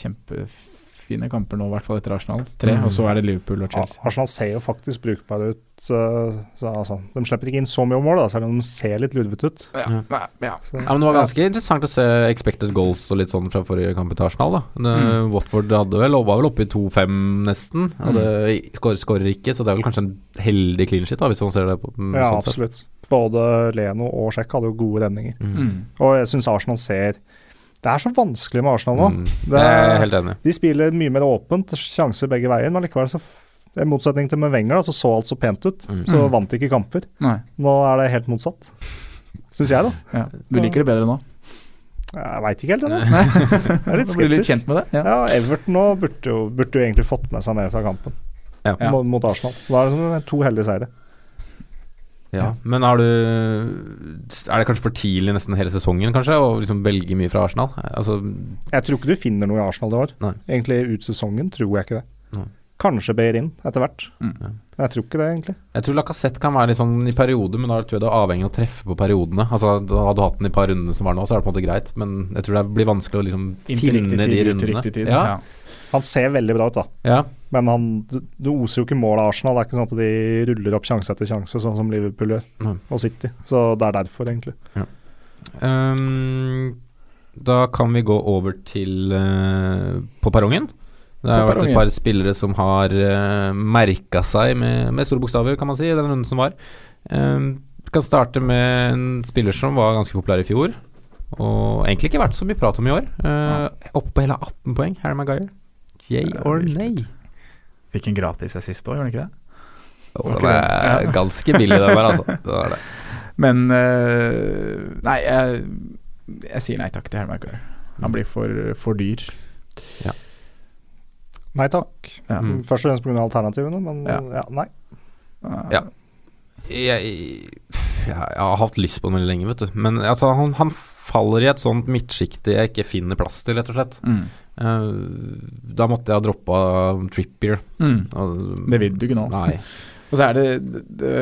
E: kjempefine kamper nå, i hvert fall etter Arsenal. Tre,
B: Mm.
E: og så er det Liverpool og Chelsea.
D: Arsenal ser jo faktisk brukbare ut. øh, Så, altså, de slipper ikke inn så mye mål, da, selv om de ser litt lurvete ut.
B: Ja, men Det var ganske interessant å se expected goals og litt sånn fra forrige kamp i Arsenal. da det, Watford hadde vel, og var vel oppe i 2-5 nesten. Og det skårer, skårer ikke, så det er vel kanskje en heldig clean shit, da hvis man ser det på mm,
D: Ja,
B: sånn sett.
D: absolutt. Både Leno og Sjekk hadde jo gode redninger.
E: Mm.
D: Og jeg syns Arsenal ser Det er så vanskelig med Arsenal nå.
B: Mm.
D: Det
B: Det er jeg helt enig i.
D: De spiller mye mer åpent, sjanser begge veier, men likevel så f- i motsetning til med Wenger, da, så så alt så pent ut. Så
E: Mm.
D: vant de ikke kamper.
E: Nei.
D: Nå er det helt motsatt. Syns jeg, da.
E: Ja. Du liker det bedre nå?
D: Jeg veit ikke helt ennå. Jeg er litt
E: Nå blir du litt
D: skeptisk.
E: kjent med det?
D: Ja, Everton nå burde jo, burde jo egentlig fått med seg mer fra kampen
B: Ja.
E: Ja.
D: mot mot Arsenal. Da er det som to heldige seire.
B: Ja. Men har du Er det kanskje for tidlig nesten hele sesongen, kanskje, å liksom velge mye fra Arsenal? Altså,
D: Jeg tror ikke du finner noe i Arsenal i år.
B: Nei.
D: Egentlig ut sesongen tror jeg ikke det.
B: Nei.
D: Kanskje Beirin etter hvert.
E: Mm.
D: Men jeg tror ikke det, egentlig.
B: jeg tror Lacassette kan være litt sånn i perioder, men da tror jeg det er avhengig av å treffe på periodene. Altså da Hadde du hatt den i par rundene som var nå, så er det på en måte greit, men jeg tror det blir vanskelig å liksom
E: Inntil
B: finne
E: riktig
B: de
E: tid, ut til
B: rundene.
E: riktig tid.
B: Ja,
E: Ja.
D: Han ser veldig bra ut, da.
B: ja.
D: Men han, du, du oser jo ikke mål av Arsenal. Det er ikke sånn at de ruller opp sjanse etter sjanse, sånn som Liverpool gjør,
B: Nei.
D: og City. Så det er derfor, egentlig.
B: Ehm, da kan vi gå over til eh, på perrongen. Det har
E: På
B: vært
E: perrongen.
B: et par spillere som har uh, merka seg med, med store bokstaver, kan man si, i den runden som var. Ehm, vi kan starte med en spiller som var ganske populær i fjor, og egentlig ikke vært så mye prat om i år. Uh, Oppe på hele 18 poeng, Harry Maguire. Yay
E: Ja,
B: or
E: vilt.
B: nay?
E: Fikk en gratis assist òg, gjorde han ikke det?
B: Oh, det er ganske billig, det der, altså. Det er det.
E: Men eh, Nei, jeg, jeg sier nei takk til Harry Maguire. Han blir for, for dyr.
D: Nei takk.
E: Ja.
B: Mm.
D: Først og fremst pga. alternativene, men ja.
E: Ja.
D: nei.
E: Eh,
B: Ja. jeg, jeg har hatt lyst på den veldig lenge, vet du. Men altså, han, han faller i et sånt midtsjikte jeg ikke finner plass til, rett og slett.
E: Mm.
B: Eh, da måtte jeg ha droppa Trippier.
E: Mm.
B: Og-
E: Det vil du ikke nå.
B: Nei.
E: Og så er det, det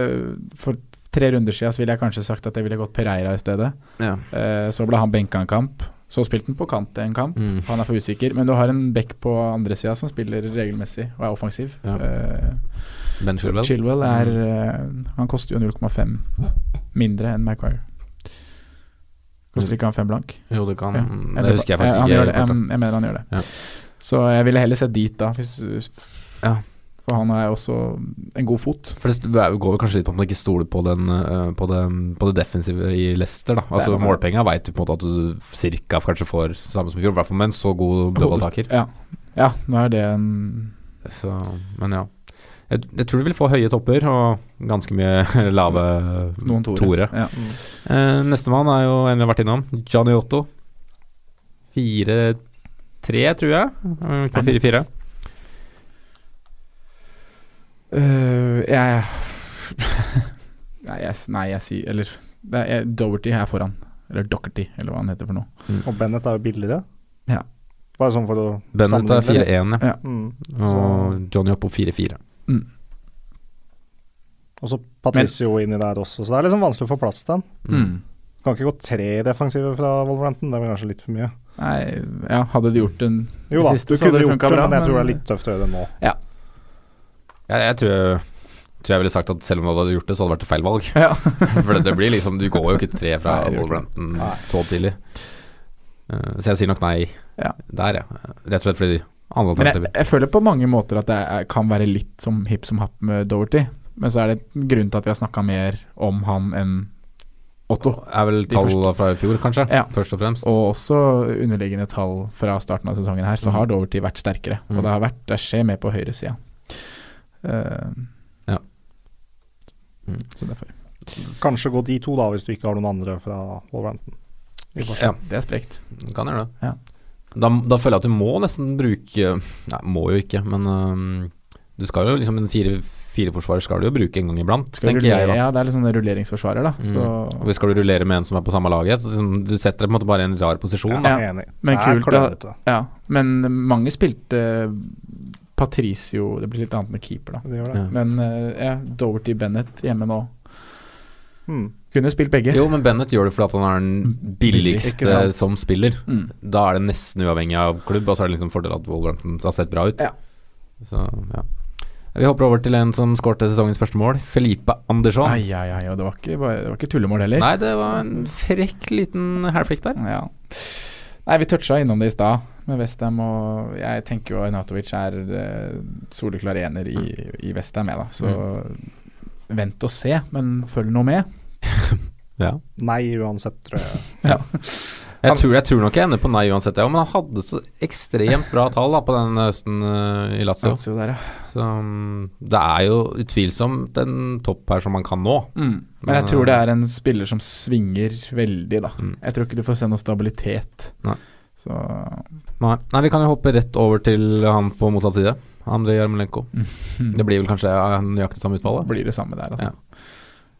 E: For tre runder siden så ville jeg kanskje sagt at jeg ville gått Pereira i stedet.
B: Ja.
E: Eh, Så ble han benka en kamp. Så spilte han på kant en kamp.
B: Mm.
E: Han er for usikker. Men du har en back på andre sida som spiller regelmessig og er offensiv.
B: Ja.
E: Eh,
B: Ben
E: så
B: Chilwell. Mm.
E: Chilwell er eh, Han koster jo 0,5 mindre enn Maguire. Koster ikke han fem blank?
B: Jo, det kan
E: Ja.
B: Det husker jeg faktisk
E: han
B: ikke.
E: Gjør det.
B: helt,
E: Jeg, jeg mener han gjør det.
B: Ja.
E: Så jeg ville heller sett dit, da. Hvis,
B: Ja.
E: For han er også en god fot.
B: For det går vel kanskje litt på om du ikke stoler på, den, eh, på, det, på det defensive i Leicester, da.
E: Det
B: Altså
E: er noe med
B: Målpenga veit du på en måte at du cirka kanskje får samme som i fjor, i hvert fall med en så god dødballtaker.
E: Ja. ja, nå er det en
B: Så, men ja. Jeg, jeg tror du vil få høye topper og ganske mye lave
E: noen toere.
B: toere.
E: Ja.
B: Eh, Nestemann er jo en vi har vært innom. Johnny Otto. 4-3, tror jeg. Eh, Ikke 4-4.
E: Øh, jeg nei, jeg s- nei, jeg sier Eller det er, jeg- Doherty er foran. Eller Doherty, eller hva han heter for noe.
D: Og Bennett er jo billigere.
E: Ja.
D: Bare sånn for å
B: Bennett er
D: sammenligne litt.
B: 4-1, ja.
D: Mm.
B: Og Johnny Otto 4-4.
D: Og så Patricio inni der også, så det er liksom vanskelig å få plass til han.
E: Mm.
D: Kan ikke gå tre defensive fra Wolverhampton, det blir kanskje litt for mye.
E: Nei, ja, hadde du gjort en
D: Jo
E: Det
D: da,
E: siste
D: du
E: så hadde
D: kunne
E: det
D: gjort
E: funket
D: det,
E: bra,
D: men jeg tror det
E: men-
D: er litt tøft å gjøre det nå.
B: Jeg, jeg tror, tror jeg ville sagt at selv om du hadde gjort det, så hadde det vært et feil valg.
E: Ja.
B: For det, det blir liksom Du går jo ikke tre fra
E: Nei, det gjør ikke
B: Wolverhampton så tidlig. Eh, så jeg sier nok nei
E: Ja.
B: der, ja. Rett og slett fordi andre
E: Men jeg,
B: alternativer.
E: jeg føler på mange måter at det er, kan være litt som hipp som happ med Doherty. Men så er det en grunn til at vi har snakka mer om han enn Otto.
B: Er vel
E: De
B: tallene fra i fjor, kanskje.
E: Ja.
B: Først og fremst.
E: Og også underliggende tall fra starten av sesongen her, så har Doverty vært sterkere.
B: Mm.
E: Og det har vært Det skjer mer på høyresida. Uh,
B: Ja. Mm.
E: Så derfor.
D: Kanskje gå de to, da, hvis du ikke har noen andre fra Wolverhampton. I forsvar.
B: ja.
E: Det er sprekt.
B: Kan gjøre det.
E: Ja.
B: Da, da føler jeg at du må nesten bruke Nei, må jo ikke, men øhm, du skal jo liksom en fire, fireforsvarer skal du jo bruke en gang iblant,
E: Skal
B: tenker jeg
E: rullere,
B: da.
E: ja, det er litt sånn rulleringsforsvarer, da.
B: Mm. Og
E: Så,
B: hvis skal du rullere med en som er på samme laget, så liksom, du setter deg på en måte bare i en rar posisjon.
D: Ja,
B: Da.
D: jeg er enig.
E: Men
D: Det er
E: kult, da.
D: klønete.
E: ja. Men mange spilte eh, Patricio Det blir litt annet med keeper, da.
D: Det gjør det.
B: Ja.
E: Men eh, ja, Doverty Bennett hjemme nå.
D: Hmm.
E: Kunne spilt begge.
B: Jo, men Bennett gjør det fordi at han er den billigste
E: Mm. Ikke sant.
B: som spiller.
E: Mm.
B: Da er det nesten uavhengig av klubb, og så er det liksom fordel at Wolverhampton har sett bra ut.
E: Ja.
B: Så, ja. Vi hopper over til en som skårte sesongens første mål, Felipe Andersson.
E: Ai, ai, ai, og det var ikke, bare- det var ikke tullemål heller.
B: Nei, det var en frekk liten hælflikk der.
E: Ja. Nei, vi toucha innom det i stad med Westham, og jeg tenker jo Arnatovic er eh, soleklar ener i,
B: Mm.
E: i Westham, jeg, da. Så vent og se, men følg nå med.
B: Ja.
D: Nei, uansett, tror jeg.
B: Jeg,
E: Han-
B: tror, jeg tror nok jeg ender på nei uansett, jeg. Men han hadde så ekstremt bra tall da, på den høsten eh, i Lazio.
E: Altså, der, ja.
B: Så, mm, det er jo utvilsomt en topp her som man kan nå.
E: mm. Men jeg tror det er en spiller som svinger veldig, da.
B: eh, Mm.
E: Jeg tror ikke du får se noe stabilitet.
B: Nei.
E: Så
B: Nei, nei vi kan jo hoppe rett over til han på motsatt side. Andrej Jarmolenko. Det blir vel kanskje eh, nøyaktig samme utfallet?
E: blir det samme der, altså.
B: Ja.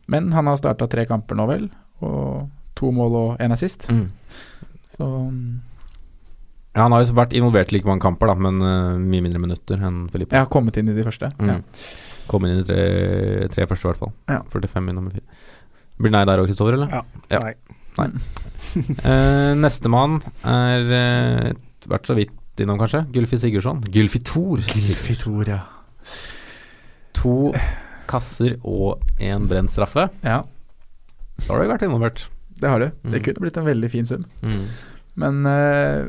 E: Men han har starta tre kamper nå, vel. Og to mål og én assist.
B: Mm.
E: Så mm,
B: Ja, han har jo vært involvert i like mange kamper, da, men eh, mye mindre minutter enn Filipe.
E: jeg har kommet inn i de første.
B: Mm.
E: Ja.
B: Kom inn i de tre, tre første, i hvert fall.
E: Ja.
B: 45 i nummer fire. Blir nei der òg, Kristoffer, eller? Ja.
D: Nei.
B: Eh, Nestemann er eh, vært så vidt innom, kanskje. Gylfi Sigurdsson. Gylfi Thor. To kasser og en brent straffe.
E: Ja.
B: Da har du jo vært involvert.
E: Det har du. Det
B: Mm.
E: kunne blitt en veldig fin sum. Men eh,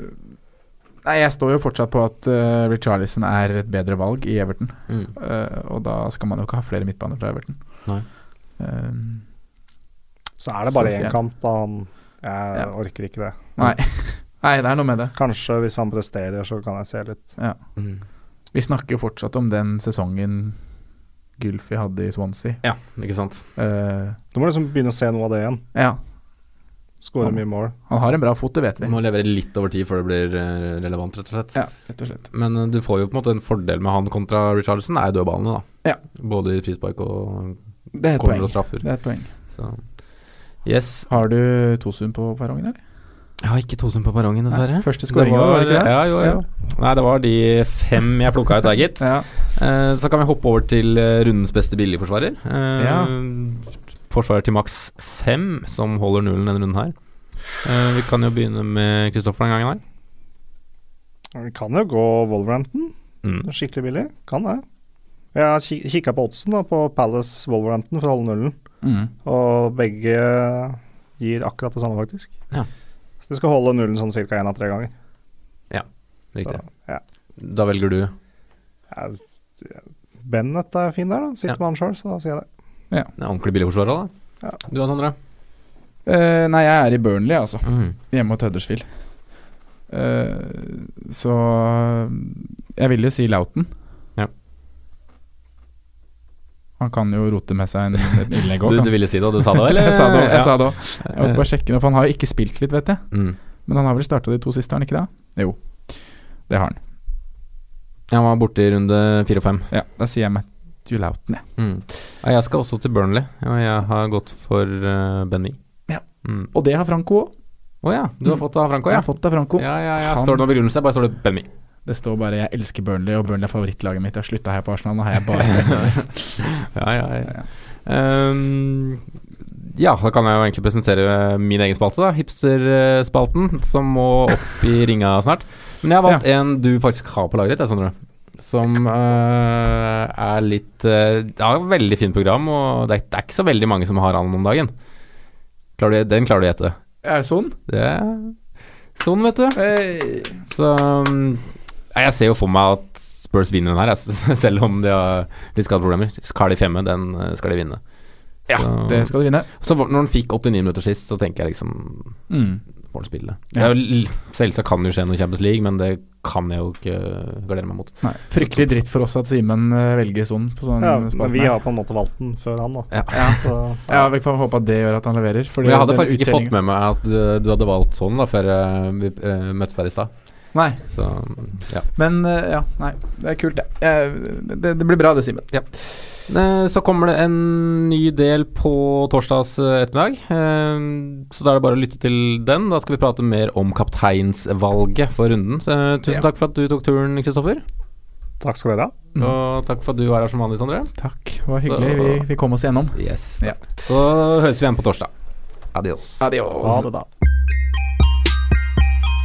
E: Nei, jeg står jo fortsatt på at uh, Richarlison er et bedre valg i Everton.
B: Mm.
E: Eh, og da skal man jo ikke ha flere midtbaner fra Everton.
B: Nei.
E: Eh,
D: Så er det bare
E: Så sier
D: én
E: jeg.
D: kamp, da. Han- Jeg
E: Ja.
D: orker ikke det.
E: nei. nei, det er noe med det.
D: Kanskje hvis han presterer, så kan jeg se litt.
B: Mm.
E: Vi snakker jo fortsatt om den sesongen Gylfi hadde i Swansea.
B: Ja, ikke sant.
E: Eh,
D: Du må liksom begynne å se noe av det igjen.
E: ja,
B: Mm.
D: Skåre
E: Han-
D: mye mål.
E: han har en bra fot, det vet
B: Du
E: vi.
B: må levere litt over tid før det blir eh, relevant, rett og slett.
E: Ja, rett og slett.
B: Men eh, du får jo på en måte en fordel med han kontra Richarlison, er jo dødballene, da.
E: Ja.
B: Både i frispark og
E: Det er et
B: corner
E: poeng.
B: og straffer.
E: Det er et poeng.
B: Så. Yes.
E: Har du Tosum på perrongen, eller?
B: Jeg har ikke Tosun på perrongen, dessverre.
E: Nei, første scoringen
B: Det
E: var det ikke det?
B: Ja, jo, jo. Nei, det var de fem jeg plukka ut der, gitt.
E: Ja.
B: Eh, Så kan vi hoppe over til eh, rundens beste billigforsvarer. Eh,
E: Ja.
B: Forsvarer til maks fem, som holder nullen denne runden her. Eh, Vi kan jo begynne med Kristoffer den gangen her.
D: Han kan jo gå Wolverhampton.
B: Mm.
D: Skikkelig billig. Kan det. Jeg har kikka på oddsen da, på Palace Wolverhampton for å holde nullen,
E: Mm.
D: og begge gir akkurat det samme, faktisk.
B: Ja.
D: Så de skal holde nullen sånn ca. én av tre ganger.
B: Riktig.
D: Ja.
B: Da velger du
D: Ja, Bennett er fin der, da. Sitter
B: Ja.
D: med han sjøl, så da sier jeg det.
B: den ordentlige billigforsvarer, da.
D: Ja.
B: Du da, Sondre?
E: Eh, nei, jeg er i Burnley, altså. Hjemme mot Huddersfield. Eh, så eh, jeg vil jo si Lauten.
B: Ja.
E: Han kan jo rote med seg en et innlegg òg.
B: Du, du ville si det, og du sa det, eller?
E: Jeg sa det òg. Jeg,
B: Ja.
E: sa det også. jeg måtte bare sjekke nå, for han har jo ikke spilt litt, vet jeg.
B: Mm.
E: Men han har vel starta de to siste, har han ikke det? Jo, det har han.
B: Han var borte i runde fire og fem.
E: Ja, Da sier jeg Matthew Lauten, jeg.
B: Mm. Ja, jeg skal også til Burnley, og jeg har gått for uh, Benny.
E: Ja.
B: Mm.
E: Og det har Franco òg.
B: Å ja, du har fått det av Franco,
E: Jeg
B: ja.
E: har fått det av Franco.
B: Ja, ja, ja.
E: Han-
B: Står det noen begrunnelse? Bare står det Benny.
E: Det står bare 'jeg elsker Burnley', og Burnley er favorittlaget mitt. Jeg har slutta her på Arsenal, nå har jeg bare
B: Ja, ja, ja. Ehm, ja, da kan jeg jo egentlig presentere min egen spalte, da. Hipsterspalten, som må opp i ringa snart. Men jeg har valgt en du faktisk har på lageret, jeg, Sondre. som eh, er litt eh, Det har et veldig fint program, og det er, det er ikke så veldig mange som har han om dagen. Klarer du, den klarer du å gjette.
E: Er det sånn?
B: Det er sånn, vet du. Så mm, nei, jeg ser jo for meg at Spurs vinner den her, jeg, selv om de har litt skadeproblemer. Skal de femme, den eh, skal de vinne.
E: Ja,
B: Så-
E: det skal du vinne.
B: Så var- når han fikk 89 minutter sist, så tenker jeg liksom
E: Mm.
B: får han spille. Det er jo l- Selvsagt kan det jo skje noe i Champions League, men det kan jeg jo ikke gardere meg mot.
E: Nei, fryktelig dritt for oss at Simen eh, velger sånn på sånn
F: Ja,
E: spalte
F: men vi
E: her.
F: har på en måte valgt den før han, da.
B: Ja.
F: Så,
E: Ja, vi får håpe at det gjør at han leverer.
B: Men jeg hadde faktisk ikke fått med meg at du, du hadde valgt sånn da før eh, vi eh, møttes her i stad.
E: Nei,
B: Så ja.
E: men eh, ja, nei. Det er kult, det. Eh, Det, det blir bra det, Simen.
B: Eh, Så kommer det en ny del på torsdags eh, ettermiddag. Eh, Så da er det bare å lytte til den. Da skal vi prate mer om kapteinsvalget for runden. Så, eh, tusen takk for at du tok turen, Kristoffer.
F: takk skal dere ha.
B: Og takk for at du var her som vanlig, Sondre.
E: Takk. Det var hyggelig. Vi, vi kom oss gjennom.
B: Yes.
E: Ja.
B: Så høres vi igjen på torsdag. Adios.
F: Ha det, da.